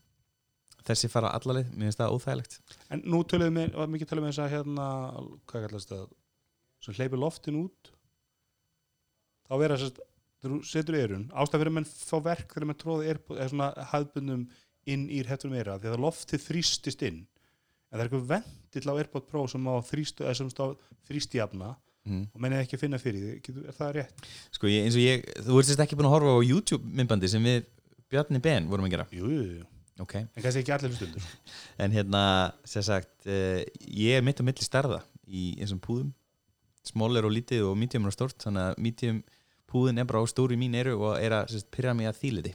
þessi fara allalið, mér finnst það óþægilegt en nú töluðum við, var mikið töluðum við þess að hérna, hvað kallast það sem hleypir loftin út þá vera þess að þú setur eirun, ástæð fyrir að menn fá verk þegar menn tróða eirpods, eða svona hafðbundum inn í hefðum eira, því að loftið þrýstist inn, en það er eitthvað vendill á AirPod Pro sem á þrýstu eða sem stá þrýstjafna mm. og mennið ekki að finna fyrir því, Getur- er það rétt? sko, ég, eins og ég, þú ert sérst ekki búin að horfa á YouTube myndbandi sem við Bjarni Ben vorum að gera Jú, jú, jú. okay. en kannski ekki allir hlustundur en hérna, sem sagt uh, ég er mitt á milli starða í eins og púðum small er og lítið og medium er og stórt þannig að medium púðin er bara á stóri mín eru og er að sem sagt, pyrra mig að þýliti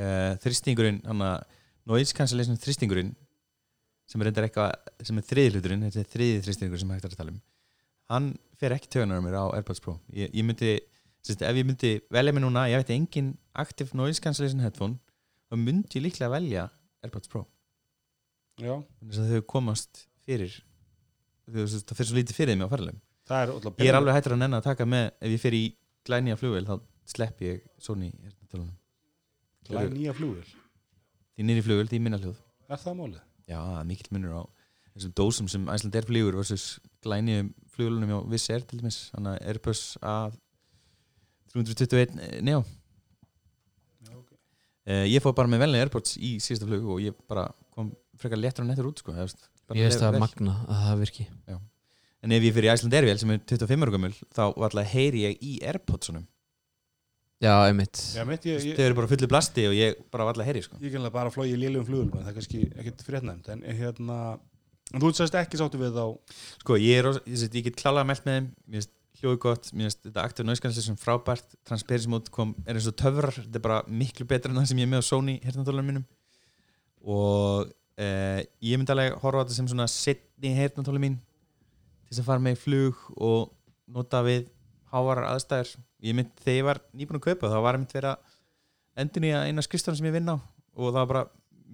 uh, þristingurinn hann að noise cancellation þristingurinn sem er reyndar eitthvað sem er þriðihluturinn, þetta er þriðið þristingur sem hægt er að tala um hann fer ekki tögunar mér á AirPods Pro ég, ég myndi, sem sagt, ef ég myndi velja mig núna, ég veit engin active noise cancellation headphone þá myndi ég líklega velja AirPods Pro Já, þannig að þau komast fyrir þau, þess- það fyrir svo lítið fyrir þeim á farlegum það er alltaf ég er alveg hættur að nenni að taka með ef ég fyrir í glænýja flugvél þá slepp ég Sony heyrnartólunum. alveg nýja flugvel, því nýri flugvél, því minna hljóð er það málið? já, það er mikill munur á þessum dósum sem Æsland Air flugur versus glænýjum flugvélunum hjá Viss Air til dæmis þannig að Airbus A321 eh, Neo Já, ok. Eh, ég fór bara með velni Airpods í síðasta flug og ég bara kom frekar léttur og nettur út sko, hefst, ég veist það magna að það virki en ef ég fyrir í Æsland Airvél sem er 25 ára gömul þá alltaf heyri ég í Airpodsunum já, einmitt Já, mitt, ég, þau ég, eru bara fullu plasti og ég bara alltaf heyri sko. ég kannilega bara flóið í lélugum flugvel en það er kannski ekkert fréttnæmt en hérna, en þú sérst ekki sáttu við þá sko ég, er, ros- ég, ég, ég get klálega meld með þeim mér finnst hljóðu gott, mér finnst þetta aktiv náðskanslega sem frábært, transperismót kom er eins og töfrar, þetta er bara miklu betra en það sem ég er með á Sony hernatólunum mínum og eh, ég myndi alveg horfa á þetta sem svona setni hernatólun mín til þess að fara með í flug og nota við hávarar aðstæður ég mynd, þegar ég var nýbúin að kaupa þá var ég mynd verið að endin í eina skrifstofan sem ég vinn á og það var bara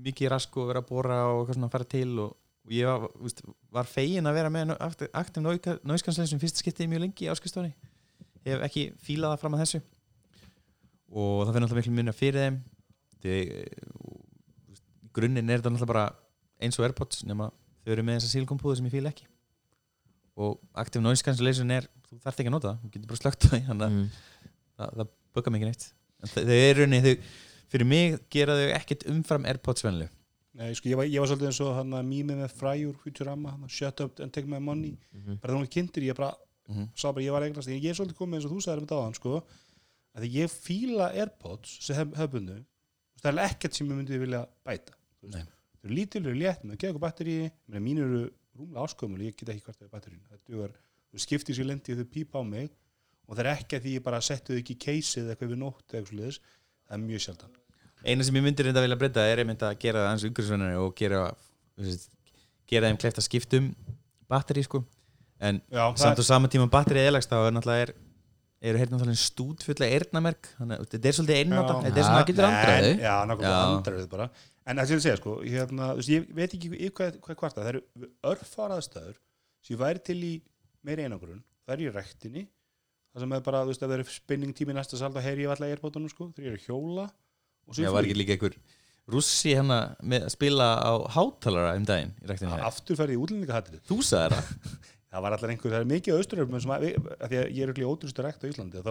mikið rask og vera að bóra og eitthvað svona að fara til og, og ég var, úst, var fegin að vera með aktum náðskanslega sem fyrst skiptið mjög lengi á skrifstofunni hef ekki fílað það fram að þessu og það finnir alltaf miklu minna fyrir þeim eh, þau grunninn er þetta náttúrulega bara eins og Airpods nema þau eru með þessa silikonpúðu sem ég fíla ekki og Active Noise Cancellation er þú þarft ekki að nota það, þú getur bara slögt það þannig að mm. það, það bugga mig ekki neitt en þau, þau eru henni, þau, fyrir mig gera þau ekkert umfram Airpods venlu Nei, sko, ég, var, ég var svolítið eins og hann að mýmið með fræjur Futurama, hann shut up and take my money Mhm. bara þegar hún er kynntur, ég bara Mhm. sá bara, ég var eignast, ég er svolítið komið eins og þú sagðir með dáðan, sko að því ég fíla Airpods sem hef, hefbundu það er ekkert sem ég myndi vilja bæta Þú veist, Nei. þau eru lítil, þau eru létt, með gegn og batteri mín eru rúmlega áskömmul, ég get ekki hvort það er batterín það dugar, þú skiptir sér lendi þau pípa á mig og það er ekki að því ég bara settu þau ekki í keisið eða eitthvað við nótt eða eitthvað sliðis það er mjög sjaldan Eina sem ég myndir reynda að vilja breyta er einmitt að gera það hans umhverfisvennari og gera þú veist, gera þeim kleift að skiptum batteri sko en Já, það samt er- og saman tíma batteri eðlagst þá er náttúrulega er, eru hérna náttúrulega stút fulla eyrnamerk þannig að þetta er svolítið einnota Já. þetta er Já, svona getur andraði. En- já, nákvæmlega Já. andraðið bara en það sem ég segja sko, hérna, þú veist, ég veit ekki í hvað, hvað kvarta, það eru örfaraðastöður sem ég væri til í meiri einangrun það er í rektinni það sem er bara, þú veist, ef það eru spinningtími í næsta sal þá heyri ég alltaf erbótunum sko, þegar ég er að hjóla og svo Já, í var flugi. ekki líka einhver rússi hérna með að spila á hátalara um daginn í ræktinu A- hérna aftur ferði í útlendingahatrið Þú sagði það það var allar einhver, það er mikið austuröfum sem að, að því að ég er öll í ótrústu rekt á Íslandi þá,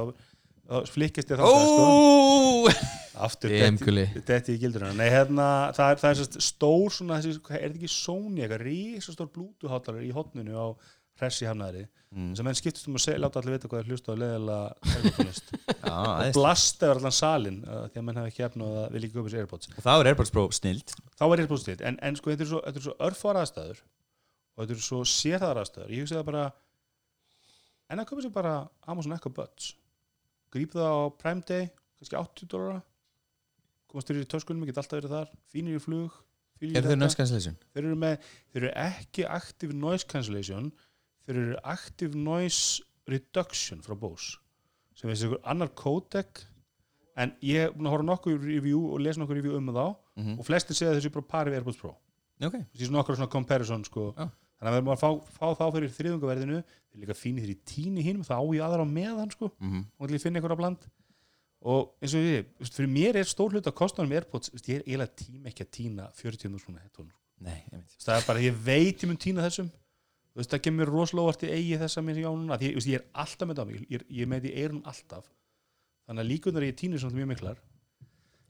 þá flikkist ég sko. þá Ó! aftur Emguli. detti í gildurina Nei, hérna, það, er, það er sérst stór svona, þessi, hvað- er þetta ekki Sony eitthvað risastór blútuháttalar í hotninu á hressi hafnaðri mm. sem enn skiptist um að segja, láta allir vita hvað er hlust á leðilega ergotunist Já, og æðislegt. blasta yfir allan salin uh, því að menn hafi ekki efna og það vil ekki köpa sér Airpods og þá er Airpods Pro snild þá er Airpods til, en, en sko þetta er svo, þetta er svo örfára aðstæður og þetta er svo sérðar aðstæður, ég hugsa það bara en að köpa sér bara Amazon Echo Buds gríp það á Prime Day, kannski 80 dólara komast þér í töskunum, geta alltaf verið þar fínir í flug, fínir í Er þau noise cancellation? þeir eru með, þeir eru ekki active noise cancellation þeir eru active noise reduction frá Bose sem er einhver annar codec en ég er búin að horfa á nokkur review og lesa nokkur review um þá Mhm. og flestir segja að þessi bara pari við Airpods Pro Ok, þessi nokkur svona comparison sko Já. þannig að verður maður að fá, fá þá fyrir þriðungaverðinu þeir eru líka fínir í tíni hinn þá á ég aðra á meðan sko Mhm. og ætla ég að finna einhverja bland og eins og ég, þú veist, fyrir mér er stór hlut að kostnaðum Airpods, þú veist, ég er eiginlega tíma ekki að tína 40.000 svona headphone nei, einmitt Þú veist, það er bara, ég veit ég mun týna þessum Þú veist, það kemur mér rosalega óvart í eigi þessa mér sem ég á núna, því þú veist, ég er alltaf með það á mig, ég, er- ég er með því eyrun alltaf þannig að líkunar ég týnir svona mjög miklar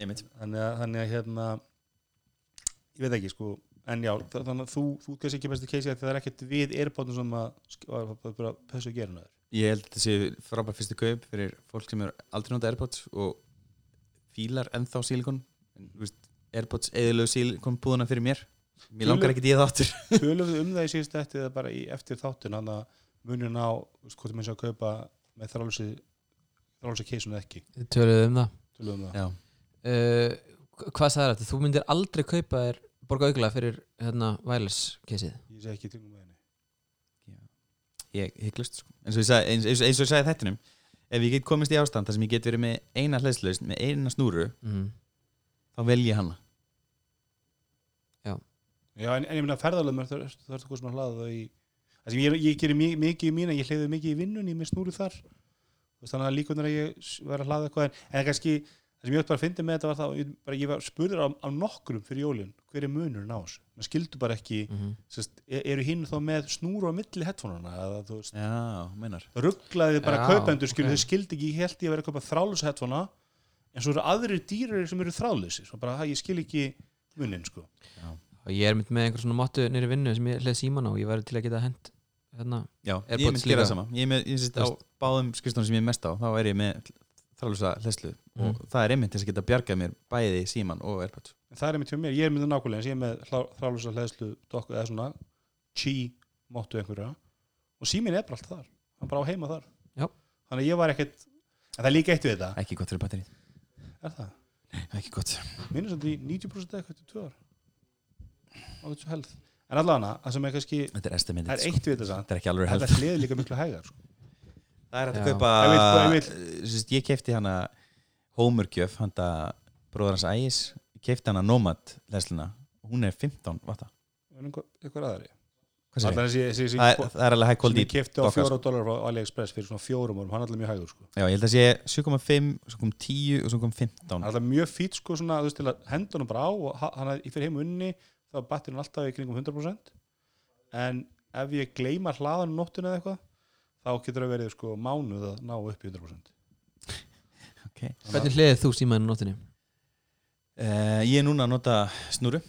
Einmitt þannig að, þannig að hérna ég veit ekki sko en já, þa- þannig að þú, þú kannski ekki bestu keisið það er ekkert við erbóttum sem að sk- að- að- að- bara þessu að gera náður Ég held að þetta sé frábær fyrstu kaup fyrir fólk sem er aldrei nota Airpods og fílar ennþá sílikon En, þú veist, Airpods eðilegu sílikon búðuna fyrir mér Mér langar ekki því að þáttur tölum við um það í síðust eftir eða bara í, eftir þáttin þannig að munur ná, þú veist, hvort er minnst að kaupa með þrálsi þrálsi keisun ekki, Við töluðum um það tölum við um það Já, uh, Hvað sagði þetta? Þú myndir aldrei kaupa þér borga augla fyrir hérna wireless keysið ég sé ekki í kringum með henni ég hygglust sko. eins, og ég sagði- eins, eins, eins og ég sagði þettinum Ef ég get komist í ástand þar sem ég get verið með eina hlæðslaust, með eina snúru mm. þá vel ég hana Já, en, en ég meina ferðalöfum er það er eitthvað sem að hlaða það í það sem ég, ég gerir mi- mikið í mín en ég hleyði mikið í vinnunni, ég mér snúru þar Þú veist, þannig að líkunar að ég s- var að hlaða eitthvað en, en kannski, það sem ég átt bara að fyndi með þetta var það, ég, bara, ég var spurður á, á nokkrum fyrir jólin, hver er munurinn á þessu maður skildu bara ekki, Mhm. sérst, eru hinn þá með snúru á milli headfónana eða þú veist, Já, meinar rugglaði bara Já, kaupendur skilur, ok. þeir skildi ekki, ég held ég að vera að kaupa þrálusa headfóna, en svo eru aðrir dýrar sem eru þrálusi, svo bara, hæ, ég skil ekki munin, sko Og ég er mynd með einhver svona mottu nýri vinnu sem ég hlið síman á og ég væri til að geta hent hérna Já, ég Airpods myndi gera líka. það sama Ég, er með, ég sitt á báðum skrifstónum sem ég er mest á þá er ég með þrálusa hlæslu og það er einmitt þess að geta bjargað mér bæði síman og Airpods en það er mitt hjá mér, ég er myndið nákvæmlega eins, ég er með þrálusa hlæðslu dokku eða svona chi móttu einhverja og síminn er bara allt þar, hann bara á heima þar Já. þannig að ég var ekkert en það er líka eitt við þetta, Ekki gott fyrir batterið, er það? ekki gott minnum samt í 90% eða eitthvað til tvö ár á þessu helð en allavega það sem er kannski, Þetta er estimated það er eitt við þetta samt Þetta er ekki alveg en held það hliði líka miklu hægar sko. Það er hægt að Já. kaupa Ef vill, ef ég, ég, ég kefti hana Homergjöf, handa bróðar hans Ægis Ég kefti hana Nomad lesluna Hún er 15 vatta en einhver, einhver aðri Hvað segir allavega þessi, þessi, Það er- sko. þessi það er alveg hægt sem ég kvöldi kefti á dokkar, 4 dólar á AliExpress fyrir svona fjórum árum, hann er allavega mjög hægur sko. Já, ég held að sé 7,5, svo kom 10 og svo kom 15 hann er alltaf mjög fýt sko svona þú veist til að henda honum bara á og ha- hann að ég fyrir heim og unni þá er batterinn alltaf í kringum 100% en ef ég gleyma hlaðan um nóttuna eða eitthvað þá getur það verið sko mánuð að ná upp í 100% okay. Hvernig hliðið þú síman á nóttinni? Uh, ég er núna að nota snúru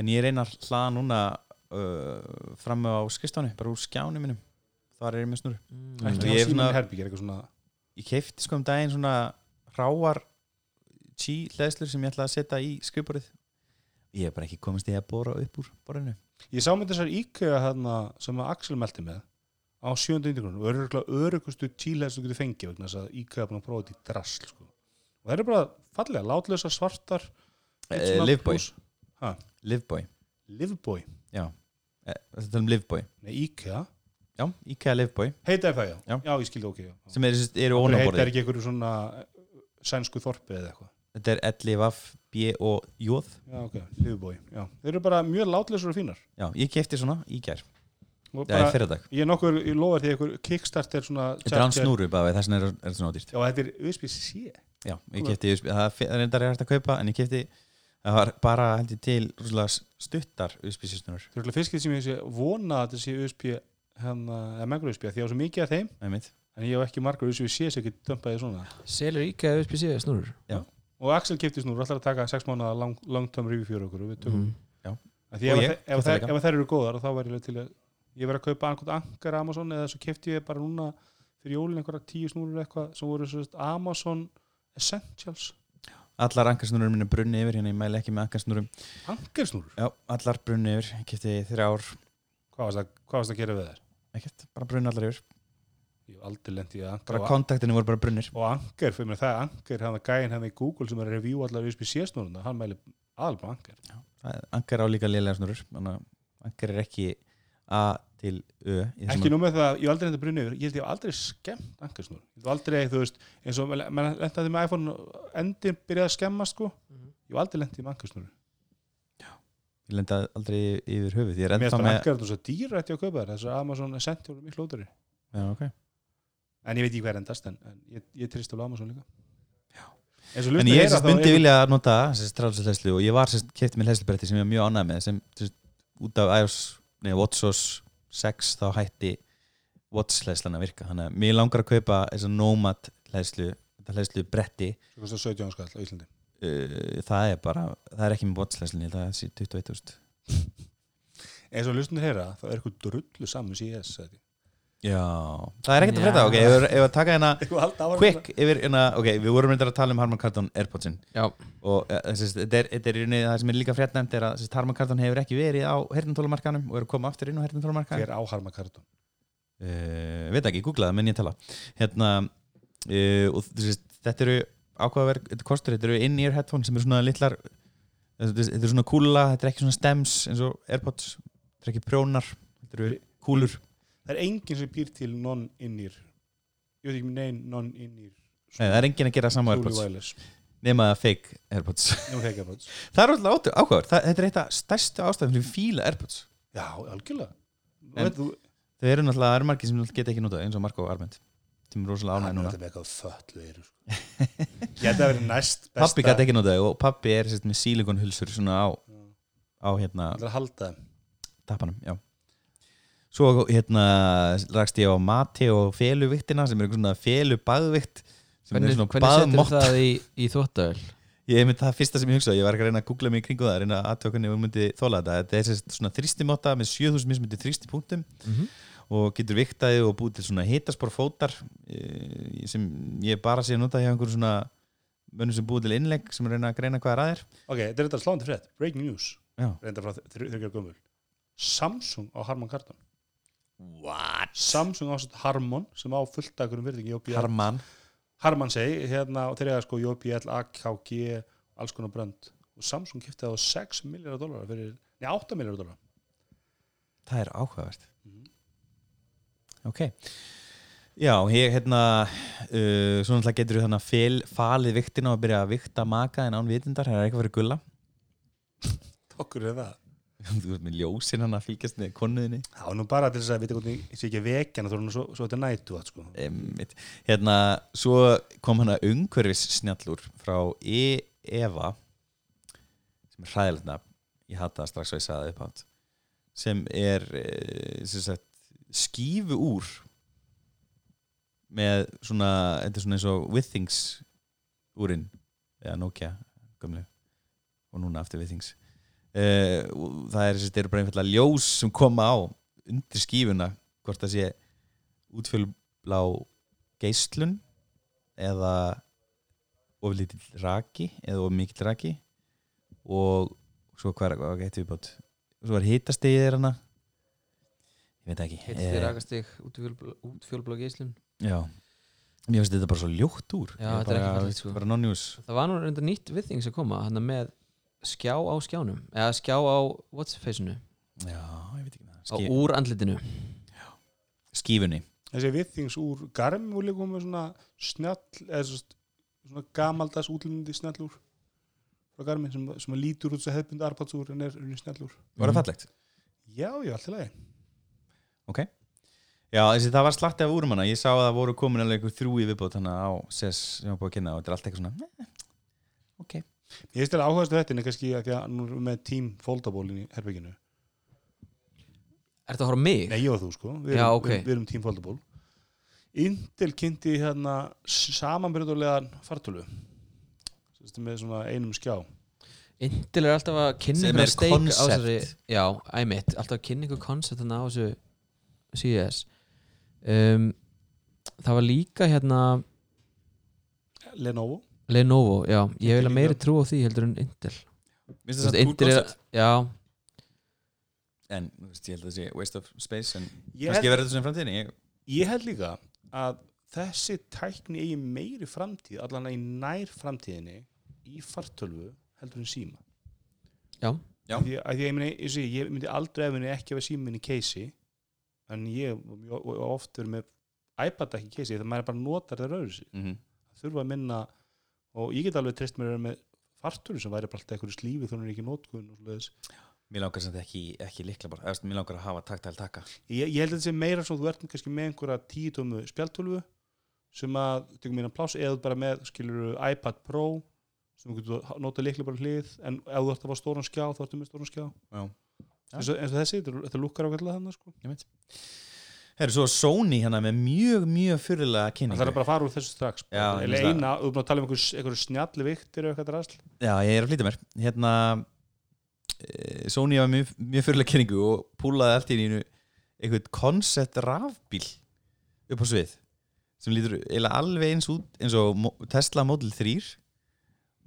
en ég reyna að hlaða núna uh, fram á skrifstáni bara úr skjáni mínum þar er ég með snúru Mm. ekki Ég er hann síma svona- í herbyggir eitthvað svona ég keifti sko um daginn svona ráar chi hlæðslur sem ég ætlaði að setja í skrifborðið ég hef bara ekki komist í að bóra upp úr borðinu Ég sá með þessar íkjöða hérna sem að Axel meldi með á sjöndu yndigrunum og öruglega örugustu tílega sem þú getur fengið vegna þess að íkjöða er búin að prófa þetta í drasl sko. og það eru bara fallega, látlausar, svartar Eh, Livboy. Ha, Livboy, Livboy, já Eh, þetta er um Livboy, nei íkjöða já, IKEA Livboy heitaði það já, Já. já ég skildi ok já. sem eru, eru Okkur heitar ónaborðið ekki einhverju svona eh, sænsku þorpi eða eitthvað þetta er LIVAF B og J Já, ok, Livboy, já. Þeir eru bara mjög látlausar og fínar. já, ég kefti svona í gær Og já, í bara, fyrradag, ég er nokkur, ég lofa því einhver kickstarter svona... þetta er án snúru bara við, þess vegna er er þetta svona ódýrt Já, þetta er USB-C. já, ég kefti, það er fe- reyndar er hægt að kaupa en ég kefti, það var bara heldur til rúslega stuttar USB-systunar Þau eru fyrst getur sem ég sé vona að þetta sé USB, hérna, eða mengur USB, af því ég á svo mikið af þeim, einmitt, en ég á ekki margar USB-C sem getur dömpaði svona. Selur íkja USB-C snúrur Og Axel kiptis nú, alltaf að taka 6 mánuða lang, long-term review fyrir okkur og við tökum. mm. Af Því Og ef, ég ég, ef, keypti þær, líka. ef þær eru góðar þá væri ég til að ég verið að kaupa einhvern angar Amazon eða svo kefti ég bara núna fyrir jólin einhverja tíu snúrur eitthvað sem voru svo sagt Amazon Essentials allar ankarsnúrum minna brunni yfir hérna, ég mæli ekki með ankarsnúrum angar snúrur? já, allar brunni yfir, ég kefti þrjár Hvað varst að, hvað varst að gera við þær? ekkert, bara brunni allar yfir Ég hef aldrei lent í að angar bara og, kontaktinu voru bara brunnir og angar fyrir mér það er angar hann að gæin hann í Google sem er að review allar USB-C snúruna hann mæli alveg angar angar á líka lélega snurur þannig að angar er ekki A til Ö í þessum ekki nú með það, ég hef aldrei hendur brunni yfir ég held ég hef aldrei skemmt angar snúr ég hef aldrei, þú veist, eins og menn lentaði með iPhone og endin byrjaði að skemmast sko. ég hef aldrei lentið með angar snúru ég lenda aldrei yfir höfuð ég er Mér ennþá finnst það með langar þetta svo dýrætti að kaupa þær þessar Amazon Essential er miklu ódari já, okay. en ég veit ekki hvað er endast en, en ég, ég trist alveg Amazon líka En, svo en hlutir ég heyra sérst þá myndi er- vilja að nota strálsins hlæslu og ég var sérst kefti mér hlæslubretti sem ég var mjög ánægð með sem sérst, út af iOS nei, WatchOS 6 þá hætti Watch hlæslan að virka þannig að mér langar að kaupa þessa Nomad hlæslu þetta hlæslu bretti Svo kostar 17 skall á Íslandi uh, það er bara, það er ekki með Watch hlæslun ég held að það sé 21.000 eins og lusnir heyra þá er eitthvað drullu saman CS sagði ég. já, það er ekkert að Já. frétta ok, ef, ef að taka hérna Eitthvað halda áfram quick yfir, inna, ok, við vorum reyndar að tala um Harman Kardon Airpodsin Já, og eh, þessi, þetta er, þetta er í rauninni það sem er líka fréttnæmt er að þessi, Harman Kardon hefur ekki verið á hertintólumarkanum og er að koma aftur inn á hertintólumarkanum hver áharma kartun uh, veit ekki, googlaði, menn ég tala hérna uh, og þessi, þetta eru ákvaðverk, þetta kostur þetta eru in-ear headphone sem eru svona litlar þetta þetta eru svona kúla, þetta er ekki svona stems eins og Airpods, þetta er ekki prjónar þetta eru kúlur það er enginn sem býr til non-innir ég veit ekki nein non-innir Nei, Eh, það er enginn að gera sama á Truly Airpods wireless nema fake Airpods Nú þegar Airpods. það er alltaf ákvaðverk, þetta er eitt af stærstu ástæðum fyrir ég fíla Airpods já, algjörlega En- Veit þú- Þau eru náttúrulega, það eru margir sem geta ekki notað eins og Marko Arment sem er rosalega hann ánægð er núna alltaf með eitthvað sko. föllu ég held að vera næst besta Pappi gæti ekki notað og pappi er sérst, með sílikonhulsur svona á, á hérna Það er að halda þeim tappanum, já Svo hérna rakst ég á mati og feluviktina sem er einhver svona felubagvikt sem hvernig, er svona hvernig setur baðmotta það í, í þvóttavel? Ég hef það fyrsta sem ég hugsaði, ég var ekki að reyna að googla mig í kringu það, reyna að aðtöka hvernig við myndi þóla þetta Þetta er sérst svona þrýstimotta með 7000 mismyndi þrýstipunktum og getur viktaði og búið til svona hitaspor fótar eh, sem ég bara sé að nota hjá einhverjum svona mönnum sem búið til innlegg sem reyna að greina hvað er að þér Ok, þetta er þetta sláðandi frétt, breaking news Já. reynda frá þryggjör gömul Samsung á Harman Kardon What? Samsung ásett Harman sem á fulltakurum virðingi JBL. Harman Harman segi, hérna og þeir eru sko JBL, AKG alls konar brönd og Samsung kipti það á 6 miljardar dólar fyrir, nei 8 miljardar dólar Það er áhugavert Ok Já, ég hérna uh, svona alltaf getur þannig að fel, falið viktina og byrja að vikta maka en án vitundar, það er eitthvað fyrir gulla Okkur er það Þú veist með ljósin hann að fylgjast með konuðinni Það var nú bara til þess að vita hvernig ég sé ekki vekjana þú erum svo, svo þetta nætu að sko Einmitt. hérna, svo kom hann að umhverfis snjallur frá E. Eva sem er hræðilegt nafn ég hata það strax og ég sagði það upphátt sem er eh, sem sagt, skífu úr með svona þetta er svona eins og Withings úrin, eða Nokia gömlu og núna aftur Withings uh, það er, sem sagt, eru bara einfallega ljós sem koma á undir skífuna hvort það sé útfjölu blá geislun eða of lítill raki eða of mikill raki og svo hvað er hvað eitt viðbót svo var hitastegið er hana ég veit ekki Eh, Hitt fyrir rakastig út fjólblók í Íslum já mér finnst þetta bara svo ljótt úr Já, Ég þetta er bara- ekki fallegt, sko. bara non-news Það var nú reynda nýtt við þing sem koma hann með skjá á skjánum eða skjá á what's-face-unu já, ég veit ekki með á það úr andlitinu skífunni þessi viðþings úr garm og líka með svona snjall eða svona, svona gamaldags útlindi snjallúr frá garmin sem, sem lítur út sem hefðbundu arpatsúr en er unni snjallúr var það Mhm. fallegt já, já, allt í lagi já, þessi það var slatti af úrum hana ég sá að það voru komin alveg einhver þrjú í viðbót hana á SES sem var búið að kynna og þetta er allt eitthvað svona "Eh, ég veist þetta áhugaðast þetta en kannski að því að nú erum við með tím foldabólin í herbygginu Ertu að horfa á mig? Nei, ég og þú sko, við Já, erum, ok. við, við erum Team Foldaból Intel kynnti hérna samanbyrðulegan fartölu Sérstu með svona einum skjá Intel er alltaf að kynna Sem einhverja er steik á concept. þessari- Já, æmitt, alltaf að kynna einhver koncept þannig á þessu CS um, Það var líka hérna Lenovo Lenovo, já, ég vil Intel að meiri líka. trú á því heldur en Intel Þú Mér finnst veist, það samt Intel cool er, concept. já, en þú veist, ég held að það sé waste of space en ég held, kannski verður þetta sem framtíðinni ég, ég held líka að þessi tækni eigi meiri framtíð allan að í nær framtíðinni í fartölvu heldur en síma Já. Já. Því, að því, að ég, meni, ég, segi, ég myndi aldrei ef minni ekki hafa síma minni keisi en ég og- og- og oft er með iPad ekki keisi þegar maður bara notar það rauðs mm þurfa að minna og ég get alveg treyst mér að vera með fartur sem væri bara alltaf einhverju slífi þannig ekki í nótkun og svoleiðis. mér langar samt ekki, ekki líkla bara Eftir, mér langar að hafa taktæl taka ég, ég held að þetta sé meira svo þú ert kannski með einhverja tíutómu spjaltölvu sem að tökum mínan pláss eða þú ert bara með skilur iPad Pro sem þú getur nota líklega bara hlið en ef þú ert að fá stóran skjá þá ertu með stóran skjá Já. eins og, eins og þessi, þetta, þetta lukkar ákveðlega þannig sko. Herru, svo Sony hérna með mjög, mjög fyrirlega það kynningu er bara að fara úr þessu strax sko. eða Já, ég veist eina, þú erum að tala um einhverju einhver snjalli viktir eða eitthvað drasl Já, ég er að flýta mér Hérna eh, Sony var mjög, mjög fyrirlega kynningu og púlaði allt í einu einhvern koncept rafbíl upp á svið sem lítur eiginlega alveg eins út eins og Mo- Tesla Model 3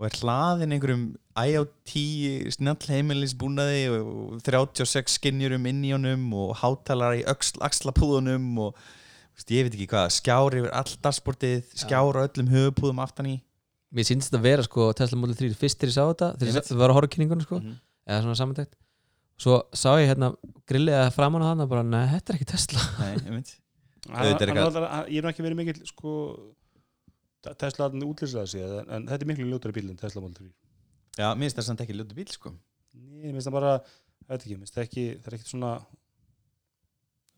og er hlaðin einhverjum IoT snjallheimilisbúnaði og og 36 skinnjurum inn í honum og hátalara í öxl, axlapúðunum og veist, ég veit ekki hvað, skjár yfir allt dashboardið, skjár á öllum höfupúðum aftan í mér sýndist þetta vera sko Tesla Model 3 fyrst þegar ég sá þetta, þegar ég Einmitt. sá- það var að horfa á kynningunum sko Mhm. eða svona samantækt Svo sá ég hérna grillið að framan á hann og bara, neða, þetta er ekki Tesla Nei, ég veit Hann- Auðvitað er hann eitthvað- var alltaf- ég er nú ekki verið mikill sko, Tesla hann útlýslega séð en, en þetta er miklu ljótari bíl en Tesla Model 3 Já, mér finnst það samt ekki ljótu bíl sko Nei, mér finnst það bara þetta ekki, mér finnst það ekki, það er ekkert svona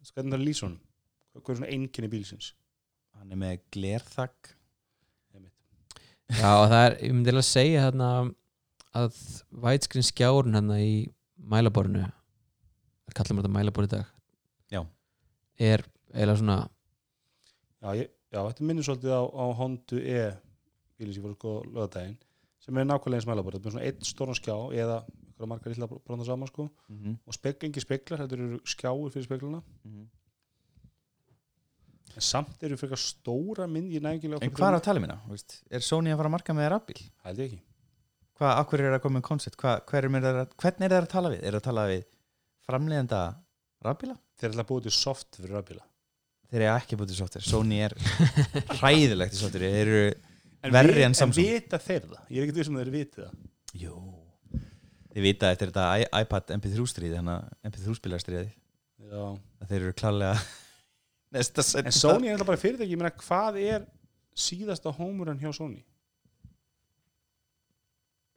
sko, hvernig það er lýsa honum hvað er svona einkenni bílsins Hann er með glerþakk Já, og það er, ég myndi eiginlega að segja hérna að vætskrin skjárun hérna í mælaborinu kallum þetta mælabor í dag Já. er eiginlega svona já, ég, já, þetta minnir svolítið á, á Honda E bílins ég fór sko lögadaginn sem er nákvæmlega eins mælabort, þetta er svona einn stóran skjá eða einhverja margar illa branda saman sko mm -hmm. og spegla, engi speglar, þetta eru skjáir fyrir spegluna en samt eru frekar stóra mynd, ég nægilega En hvað er á tali minna? Veist? Er Sony að fara að marka með rafbíl? held ég ekki Hvað, akkur er það að koma með koncept? Hvað, hver er það, að- hvernig er það að tala við? Er það að tala við framleiðenda rafbíla? þeir ætla að búið til soft fyrir rafbíla Þeir eru ekki bútið sóttir Sony er hræðilegt í sóttir Þeir eru, en Verri vi- en Samsung. en vita þeir það, ég er ekkert vissum að þeir viti það jú Þið vita eftir þetta i- iPad MP3 stríði Þannig að MP3 spilastriði já að þeir eru klálega Nesta setna En Sony er alltaf bara fyrirtæki, ég meina hvað er síðasta hómurinn hjá Sony?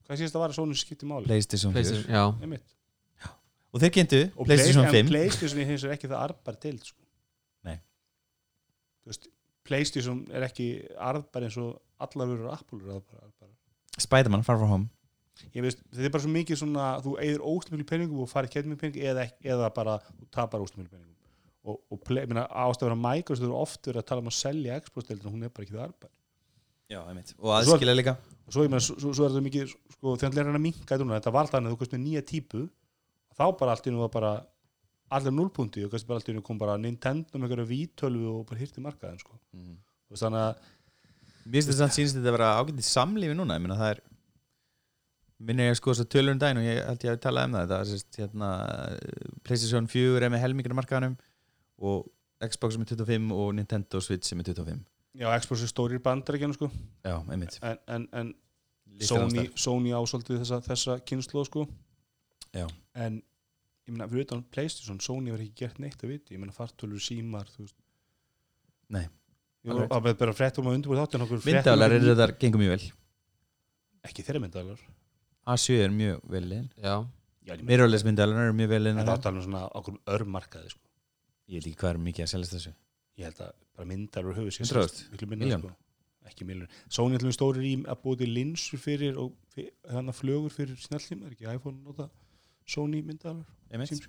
Hvað er síðasta var að Sony skipti máli? Playstation 4 PlayStation, já, Einmitt. Og þeir kynntu Og Playstation Play- 5 En Playstation er hins vegar ekki það arðbar til sko. Nei. Þú veist, Playstation er ekki arðbar eins og allar verður Apple er arðbar, arðbar. Spiderman Far From Home Ég veist, þetta er bara svo mikið svona þú eigður óstum mjög peningum og farið kemur mjög peningum eða, ekki- eða bara þú tapar óstum mjög peningum og, og play, ég meina, ástæður að Microsoft eru oft verið að tala um að selja Xbox-deildina, hún er bara ekki það arðbar Já, einmitt Og svo- aðskilja líka og svo, ég meina, svo, svo svo er þetta mikið sko, þegar hann er hann að minka núna, þetta var þannig að þú kannski með nýja típu þá bara allt í nú var bara allir núlpunti og kannski bara allt í nú kom bara Nintendo með einhverja vítölvu og bara hirti markaðin sko. Mhm. Þú veist, þannig að Mér finnst þetta samt sýnst þetta að vera ágætið samlífi núna Ég meina það er minni ég sko þess að tölur um daginn og ég held ég að tala um það það er sérst hérna Playstation 4 er með helmingur markaðanum og Xbox er með 25 og Nintendo Switch er með 25 Já, Xbox er stórir bandar ekki sko. já, einmitt en, en, en Listar hans Sony, þar. Sony ásaldið þessa, þessa kynslu sko. Já. en ég meina, fyrir utan Playstation Sony var ekki gert neitt að viti, ég meina fartölur símar, þú veist Nei. Ég var að bara fréttum að undirbúið þáttin okkur fréttum- myndavælar eru þetta gengur mjög vel ekki þeirra myndaðalar A7 er mjög vel inn já, en mirrorless myndavælar eru mjög vel inn það ég átalum svona okkur örmarkaði sko. veit ekki hvað er mikið að selja þessu ég held að bara myndar og höfu 100.000? Milljón? sko. ekki miljón Sony ætlum stórir í að búið til linsur fyrir og þannig að flögur fyrir snjallíma er ekki iPhone nota Sony myndaðalar einmitt þannig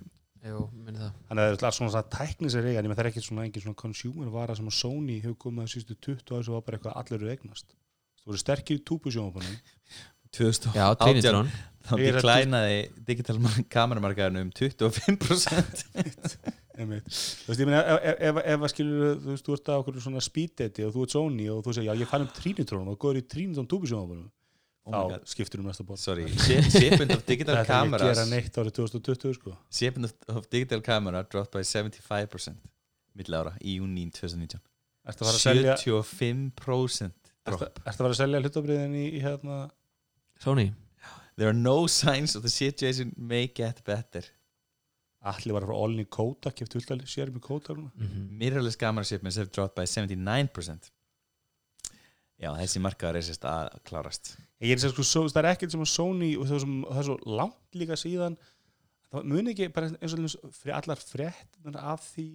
jú, minni það að það er alls svona það tæknis er eiga en ég meina, það er ekki svona engin svona consumer vara sem að Sony hefur komið að sístu 20 ára sem var bara eitthvað að allir eru að eignast þú voru sterkir í túpusjónvapunum já, 2018 Trinitron, þá Ég er að- deklænaði digital kameramarkaðanum um 25% Einmitt. Þú veist, ég meina, ef, ef, ef, ef að skilur þú veist, þú ert að okkur svona speeddati og þú ert Sony og þú segir, já, ég fann um Trinitron og góður í Trinitron túbisjónabunum Oh my þá God. skiptur um næsta borð sorry, shipment of digital Þetta er ekki að cameras gera neitt árið 2020, sko Shipment of, of digital camera dropped by 75% mill ára í júni 2019 Ertu að fara að selja, 75% ertu, drop ertu að, fara að selja hlutabriðin í, í hérna Sony There are no signs of the situation may get better Allir var að fara all-in í kóta, keft hultal sérum í kóta núna. Mhm. Mirrorless camera shipments have dropped by 79% Já, þessi markaður er sérst að klárast Ég er að segja, sko, svo, það er ekkert sem að Sony og það, sem, það er svo langt líka síðan það muni ekki, bara eins og eins, fyrir allar frétt af því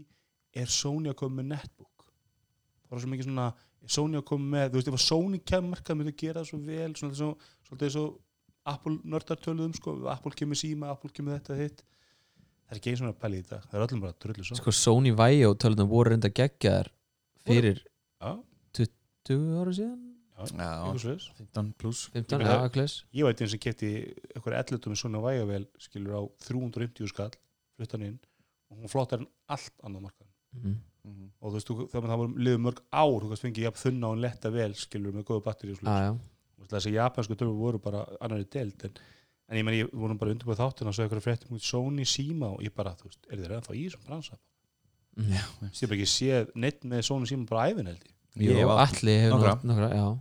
er Sony að koma með netbook það var svo mikið svona er Sony að koma með, þú veist, ef að Sony kemur markað myndi að gera það svo vel svona, svona, svolítið svo Apple nördar töluðum sko, Apple kemur síma, Apple kemur þetta hitt það er ekki eins og að pæla í dag það er öllum bara trullu svo sko Sony Vio tölunum voru reynda geggjaðar fyrir Já. 20 ára síðan Já, Eitthvað svoleiðis. 15 plus 15, Ég meina- já, akkles ég veit eins sem kefti eitthvað 11 með svona vægavél skilur á 350 skall fluttan inn og hún flottar en allt annað markaðan Mhm. og þú veist, þú- þegar maður það var liðið mörg ár þú kannski fengið jafn þunna og letta vel skilur með góðu batteri og Já, slúð Ah, já. þessi japansku tölvur voru bara annari deild en, en ég meni, ég vorum bara undirbúið þáttina og svo eitthvað fréttum út Sony, Sima og ég bara, þú veist, er þeir ennþá í þessum bransa Mhm. Þú veist, ég hef bara ekki séð neitt með Sony, Sima bara æfin held ég Ég Jú, hef átt allir hefur nokkra. nátt nokkra, já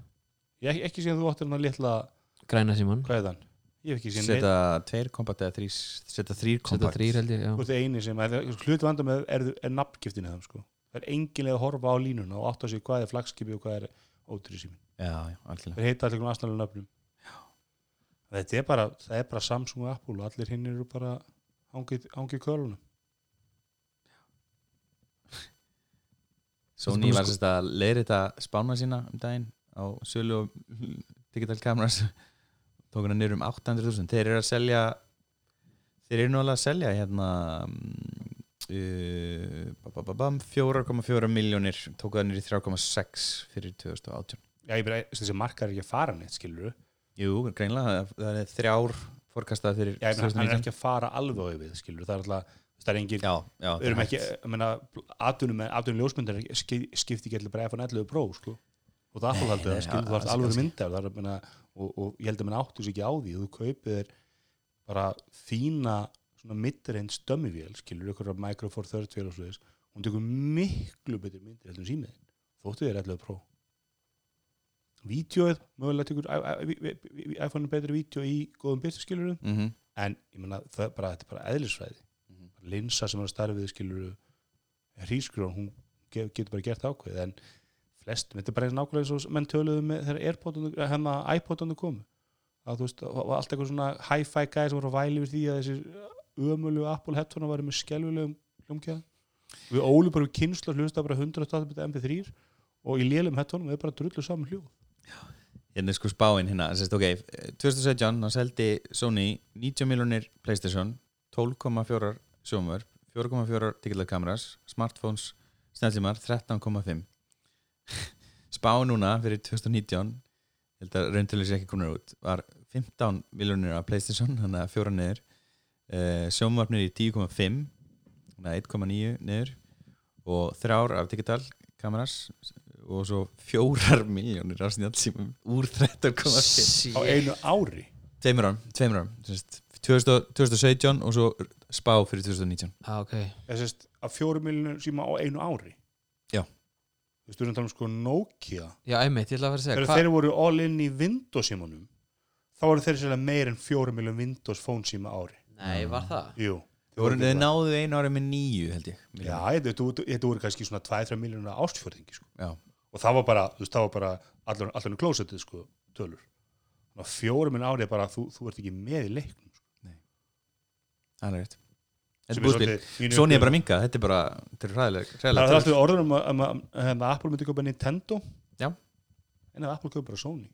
ég hef ekki- ekki séð að þú áttir hann að litla Græna síman, hvað er þann, ég hef ekki séð neitt Seta 2 kompakt eða 3 Seta 3 setja kompakt þrýr held ég já. Þú ert eini sem, hluti vanda með er, er nafngiftin eða sko. það er engin leið að horfa á línuna og átta sig hvað er flagskipi og hvað er ótri símin, Já, já, algjörlega þeir heita allir einhverjum aðstæðlega nöfnum þetta er bara það er bara Samsung og Apple og allir hinn eru bara hangið, hangið kölunum Sony var sérst að leiðri þetta spána sína um daginn á sölu og digital cameras tók hana niður um 800.000 þeir eru að selja þeir eru nú alveg að selja hérna mm, uh, ba- ba- ba- bam, 4,4 miljónir tók það niður í 3,6 fyrir 2018 já, ég bara, þessi markar er ekki að fara neitt skilur já, Jú, greinlega, það- það er þrjár fórkastað fyrir ég meina, hann er 2019 ekki að fara alveg á yfir skilur, það er alltaf, það er engin Já, já, það við erum er ekki, hægt. ég meina, atvinnum atvinnum ljósmyndar skipti ekki allir bara iPhone 11 Pro, sko og það Apple haldið nei, það, skilur, já, þú þarfst alls alveg ekki. mynda það er, ég meina, og, og ég held að menna áttu sér ekki á því þú kaupir þér bara fína svona midreins dömmivél skilur, ykkur af Micro Four Third vél og svo þess hún tekur miklu betri myndir heldur en símið, þóttu þér 11 Pro Vídeóið, mögulega tekur i- i- vi- vi- vi- vi- iPhone betri vídeo í góðum byrstu skilurum Mhm. en ég meina, það er bara, þetta er bara eðlisfræði Mhm. linsa sem er að starfið skilur hrískrón, hún ge- getur bara gert ákveð en flestum, þetta er bara eins nákvæmlega eins og menn töluðu með þegar Airpodandu, hérna iPodandu komu að þú veist, það var allt eitthvað svona hi-fi gæði sem voru að væli við því að þessi ömulegu Apple headphone varu með skelvulegum hljómkjæða við ólu bara við kynslu að hlusta bara 180 mp3 og í lélum headphone við bara drullu saman hljóð hérna er sko spáin hérna sérst, okay, 2017 þá seldi Sony 90 miljonir Playstation 12,4 sjómur 4,4 digital cameras smartphones, snellimar 13,5 spá núna fyrir 2019 ég held að rauntölu sér ekki konar út var 15 miljonir af Playstation þannig að fjóra niður uh, sjómvarpnir í 10,5 þannig að 1,9 niður og þrjár af digital kameras og svo fjórar miljónir af snjálfsímum úr 13,5 á Shit. einu ári tveimur árum, tveimur árum sem sagt, 2000 2017 og svo spá fyrir 2019 ah, ok, eða sérst að fjórum miljonu síma á einu ári Já. Þú veist, við erum að tala um sko Nokia já, einmitt, ég ætla að fara að segja þegar hva, þeir voru all in í Windows símanum þá voru þeir sérlega meir en fjórum miljón Windows phone síma á ári nei, var það Jú, Þau voru- þau náðu einu ári með nýju held ég Já, þetta þetta- þetta voru kannski svona 2-3 miljónuna ástfjörðingi sko. Já. og það var bara, þú veist, það var bara allan, allan um klósetið, sko, tölur Þannig að fjórum minn árið bara, þú, þú ert ekki með í leiknum sko. það er rétt Þetta Sem er búðspil, svolítið mín Sony er bara upplifun. minga þetta er bara, þetta er hræðileg Það er hræðileg alltaf orður um að, um að, um að Apple myndi köpa Nintendo Já. En að Apple köpa bara Sony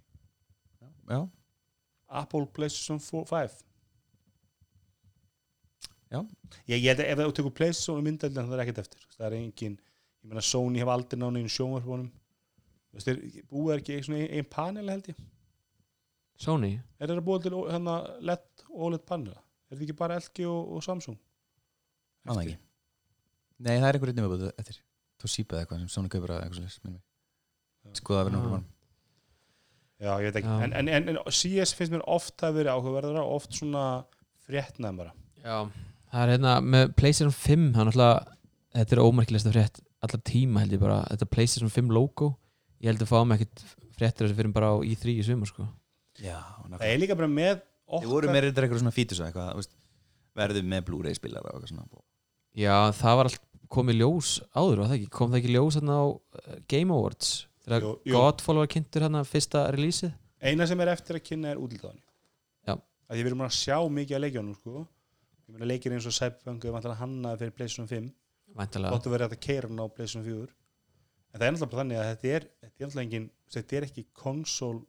Já, Apple PlayStation 4, 5 Já. Ég, ég held að ef þú tekur PlayStation og myndaldin það er ekkert eftir, Þú veist, það er engin ég meina Sony hefur aldrei náni einu sjónvarpunum Þú veist, búið er ekki einn ein panel held ég, Sony, er það búið til ó- hérna LED OLED E panel, er það ekki bara LG og, og Samsung annað ekki Nei, það er einhver reyndum að búið eftir Toshiba eða eitthvað sem Sony kaupir að eitthvað slis Skoða að vera Já. náttúrulega Já, ég veit ekki, Já. en, en, en, en CS finnst mér oft að vera áhugaverðara, oft svona fréttnæmara já, það er hérna með PlayStation 5, það er náttúrulega þetta er ómerkilegsta frétt allar tíma held ég bara, þetta PlayStation 5 logo ég held að fáum ekkert fréttir þessu fyrir bara á i3 í sumar sko Já, Það nákvæmlega er líka bara með Þið voru með reyndar eitthvað svona fítus og eitthvað þú veist, Verðu með Blu-ray spilar og eitthvað svona Já, það var allt komið ljós áður var það ekki, kom það ekki ljós hérna á eh, Game Awards þegar Jú, jú. Godfall var kynntur hérna fyrsta releaseið eina sem er eftir að kynna er útlitaðan Já. að því við erum búin að sjá mikið að leikjónum sko. ég meina leikir eins og Cyberpunk er vantilega hannaði fyrir Playstation 5 væntalega, gott að vera hægt að keira hann á Playstation 4 en það er náttúrulega bara þannig að þetta er þetta er, náttúrulega engin, þetta er ekki console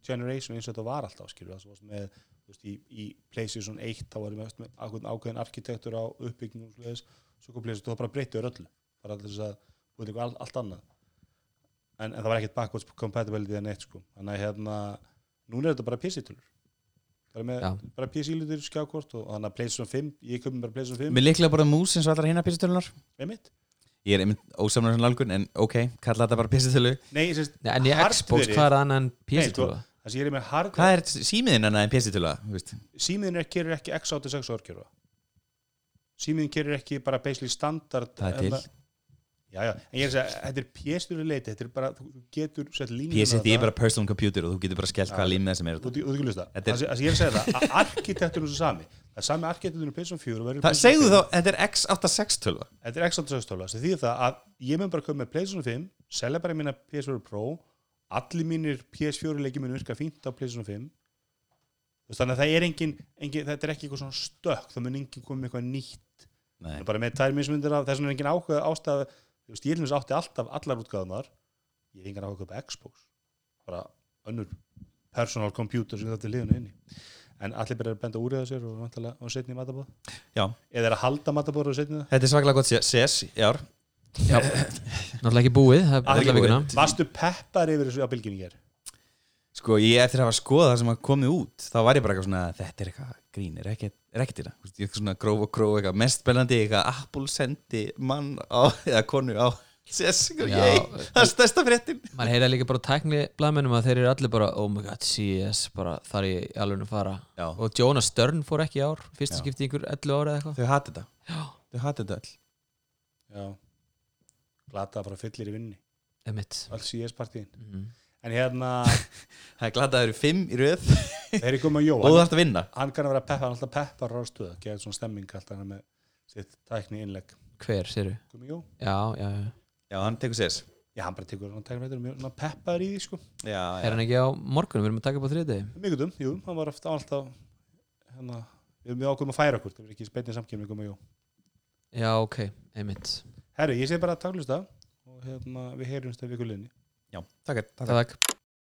generation eins og þetta var alltaf skilur það varst með þú veist, í, í Playstation 1 þá varum við með ákveðin, ákveðin arkitektur á uppbyggingum og svoleiðis. svo kom Playstation, það bara breyttiður öllu bara til þess að búið eitthvað allt, allt annað en, en það var ekkert backwards compatibility en eitt sko þannig að hérna, núna er þetta bara PC-tölur það er með Já. bara PC-lutur skjákort og, og þannig að Playstation 5 ég köpum bara Playstation 5 Mér líklega bara mús eins og allra hinna písutölunar einmitt Ég er einmitt ósamlega svona nálgun en ok, kalla þetta bara písutölu Nei, ég sést, Nei, en í Xbox, hardverið- hvað er annað en PC Nei, sko, tólfa? Það sé ég er með hardware Hvað er símiðin annað en písutöla? Já, Símiðin er, gerir ekki x86 orkjörfa Símiðin gerir ekki bara basically standard Það er til. hérna- Já, já, en ég er að segja, þetta er pjestur leiti, þetta er bara, þú getur sett línuna PST er þarna. bara personal computer og þú getur bara skellt Já. hvaða límið sem er Þú þetta þú- þú getur það, Þetta er- það sem ég er að segja það að arkitekturinn er svo sami, það er sami arkitekturinn PlayStation 4 og verður Það PlayStation 5. segðu þá, þetta er X86 tölva Þetta er x86 tóla, sem því það að ég mun bara koma með PlayStation 5, selja bara mína PS4 Pro, allir mínir PS4 leikir mun virka fínt á PlayStation 5 Þú veist, þannig að það er engin, engin þetta er ekki eitthvað svona stökk það mun engin komið með eitthvað nýtt Nei, Nei. bara með tær mismundir af, þess vegna er engin ákveð ástæð, þú veist, ég til dæmis átti alltaf allar útgáðunar, ég hef engan ákveð upp Xbox, bara önnur personal computer sem þetta er liðinu inni en allir byrjar að benda úr í það sér og, væntanlega- og setni í matabóð já eða er að halda matabóð og setni það Þetta er svaklega gott sé- ses í ár Náttúrulega ekki búið, það er Allir alla búið. vikuna Varstu peppar yfir þessu að bylginni hér? Sko, ég eftir að hafa skoðað það sem hafa komið út þá var ég bara eitthvað svona, þetta er eitthvað grín er ekkert er ekkert í það, ég er eitthvað svona gróf og gróf eitthvað mest spennandi, eitthvað Apple sendi mann á, eða konu á ses, eitthvað, Já. yey, það er stærsta fréttin Maður heyra líka bara á tækni blamennum að þeir eru allir bara oh my god, CS, bara þar ég alveg að fara Já. og Jonas Stern fór ekki í ár fyrsta Já. skipti í ykkur 11 ára eða eitthvað Þau hati þetta, Já, þau hati þetta all Já Glata bara fyllir í vinni emitt Alls í S-partíin mm. En hérna Það er glad að það eru fimm í röð Þeir eru komið að og þú Jóa þarft að vinna Hann kann að vera peppar Hann alltaf peppar ráðstöða Gerð svona stemming alltaf hann er með Sitt tækni innlegg Hver, sérðu? Komið Jó Já, já, já Já, hann tekur sér Já, hann bara tekur Hann tekur meitur Mjög svona peppar í því sko Já, já. Er hann ekki á morgunum, við erum að taka upp á þriðdegi Mikundum, jú Hann var oft- alltaf Hérna Við erum við ákveðum að færa okkur Það er ekki spennið samkjöfni komið Jó Já, ok, emitt Herru, ég segi bara takk hlusta og hérna við heyrjumst að vikuleginni já takk, takk, takk. Takk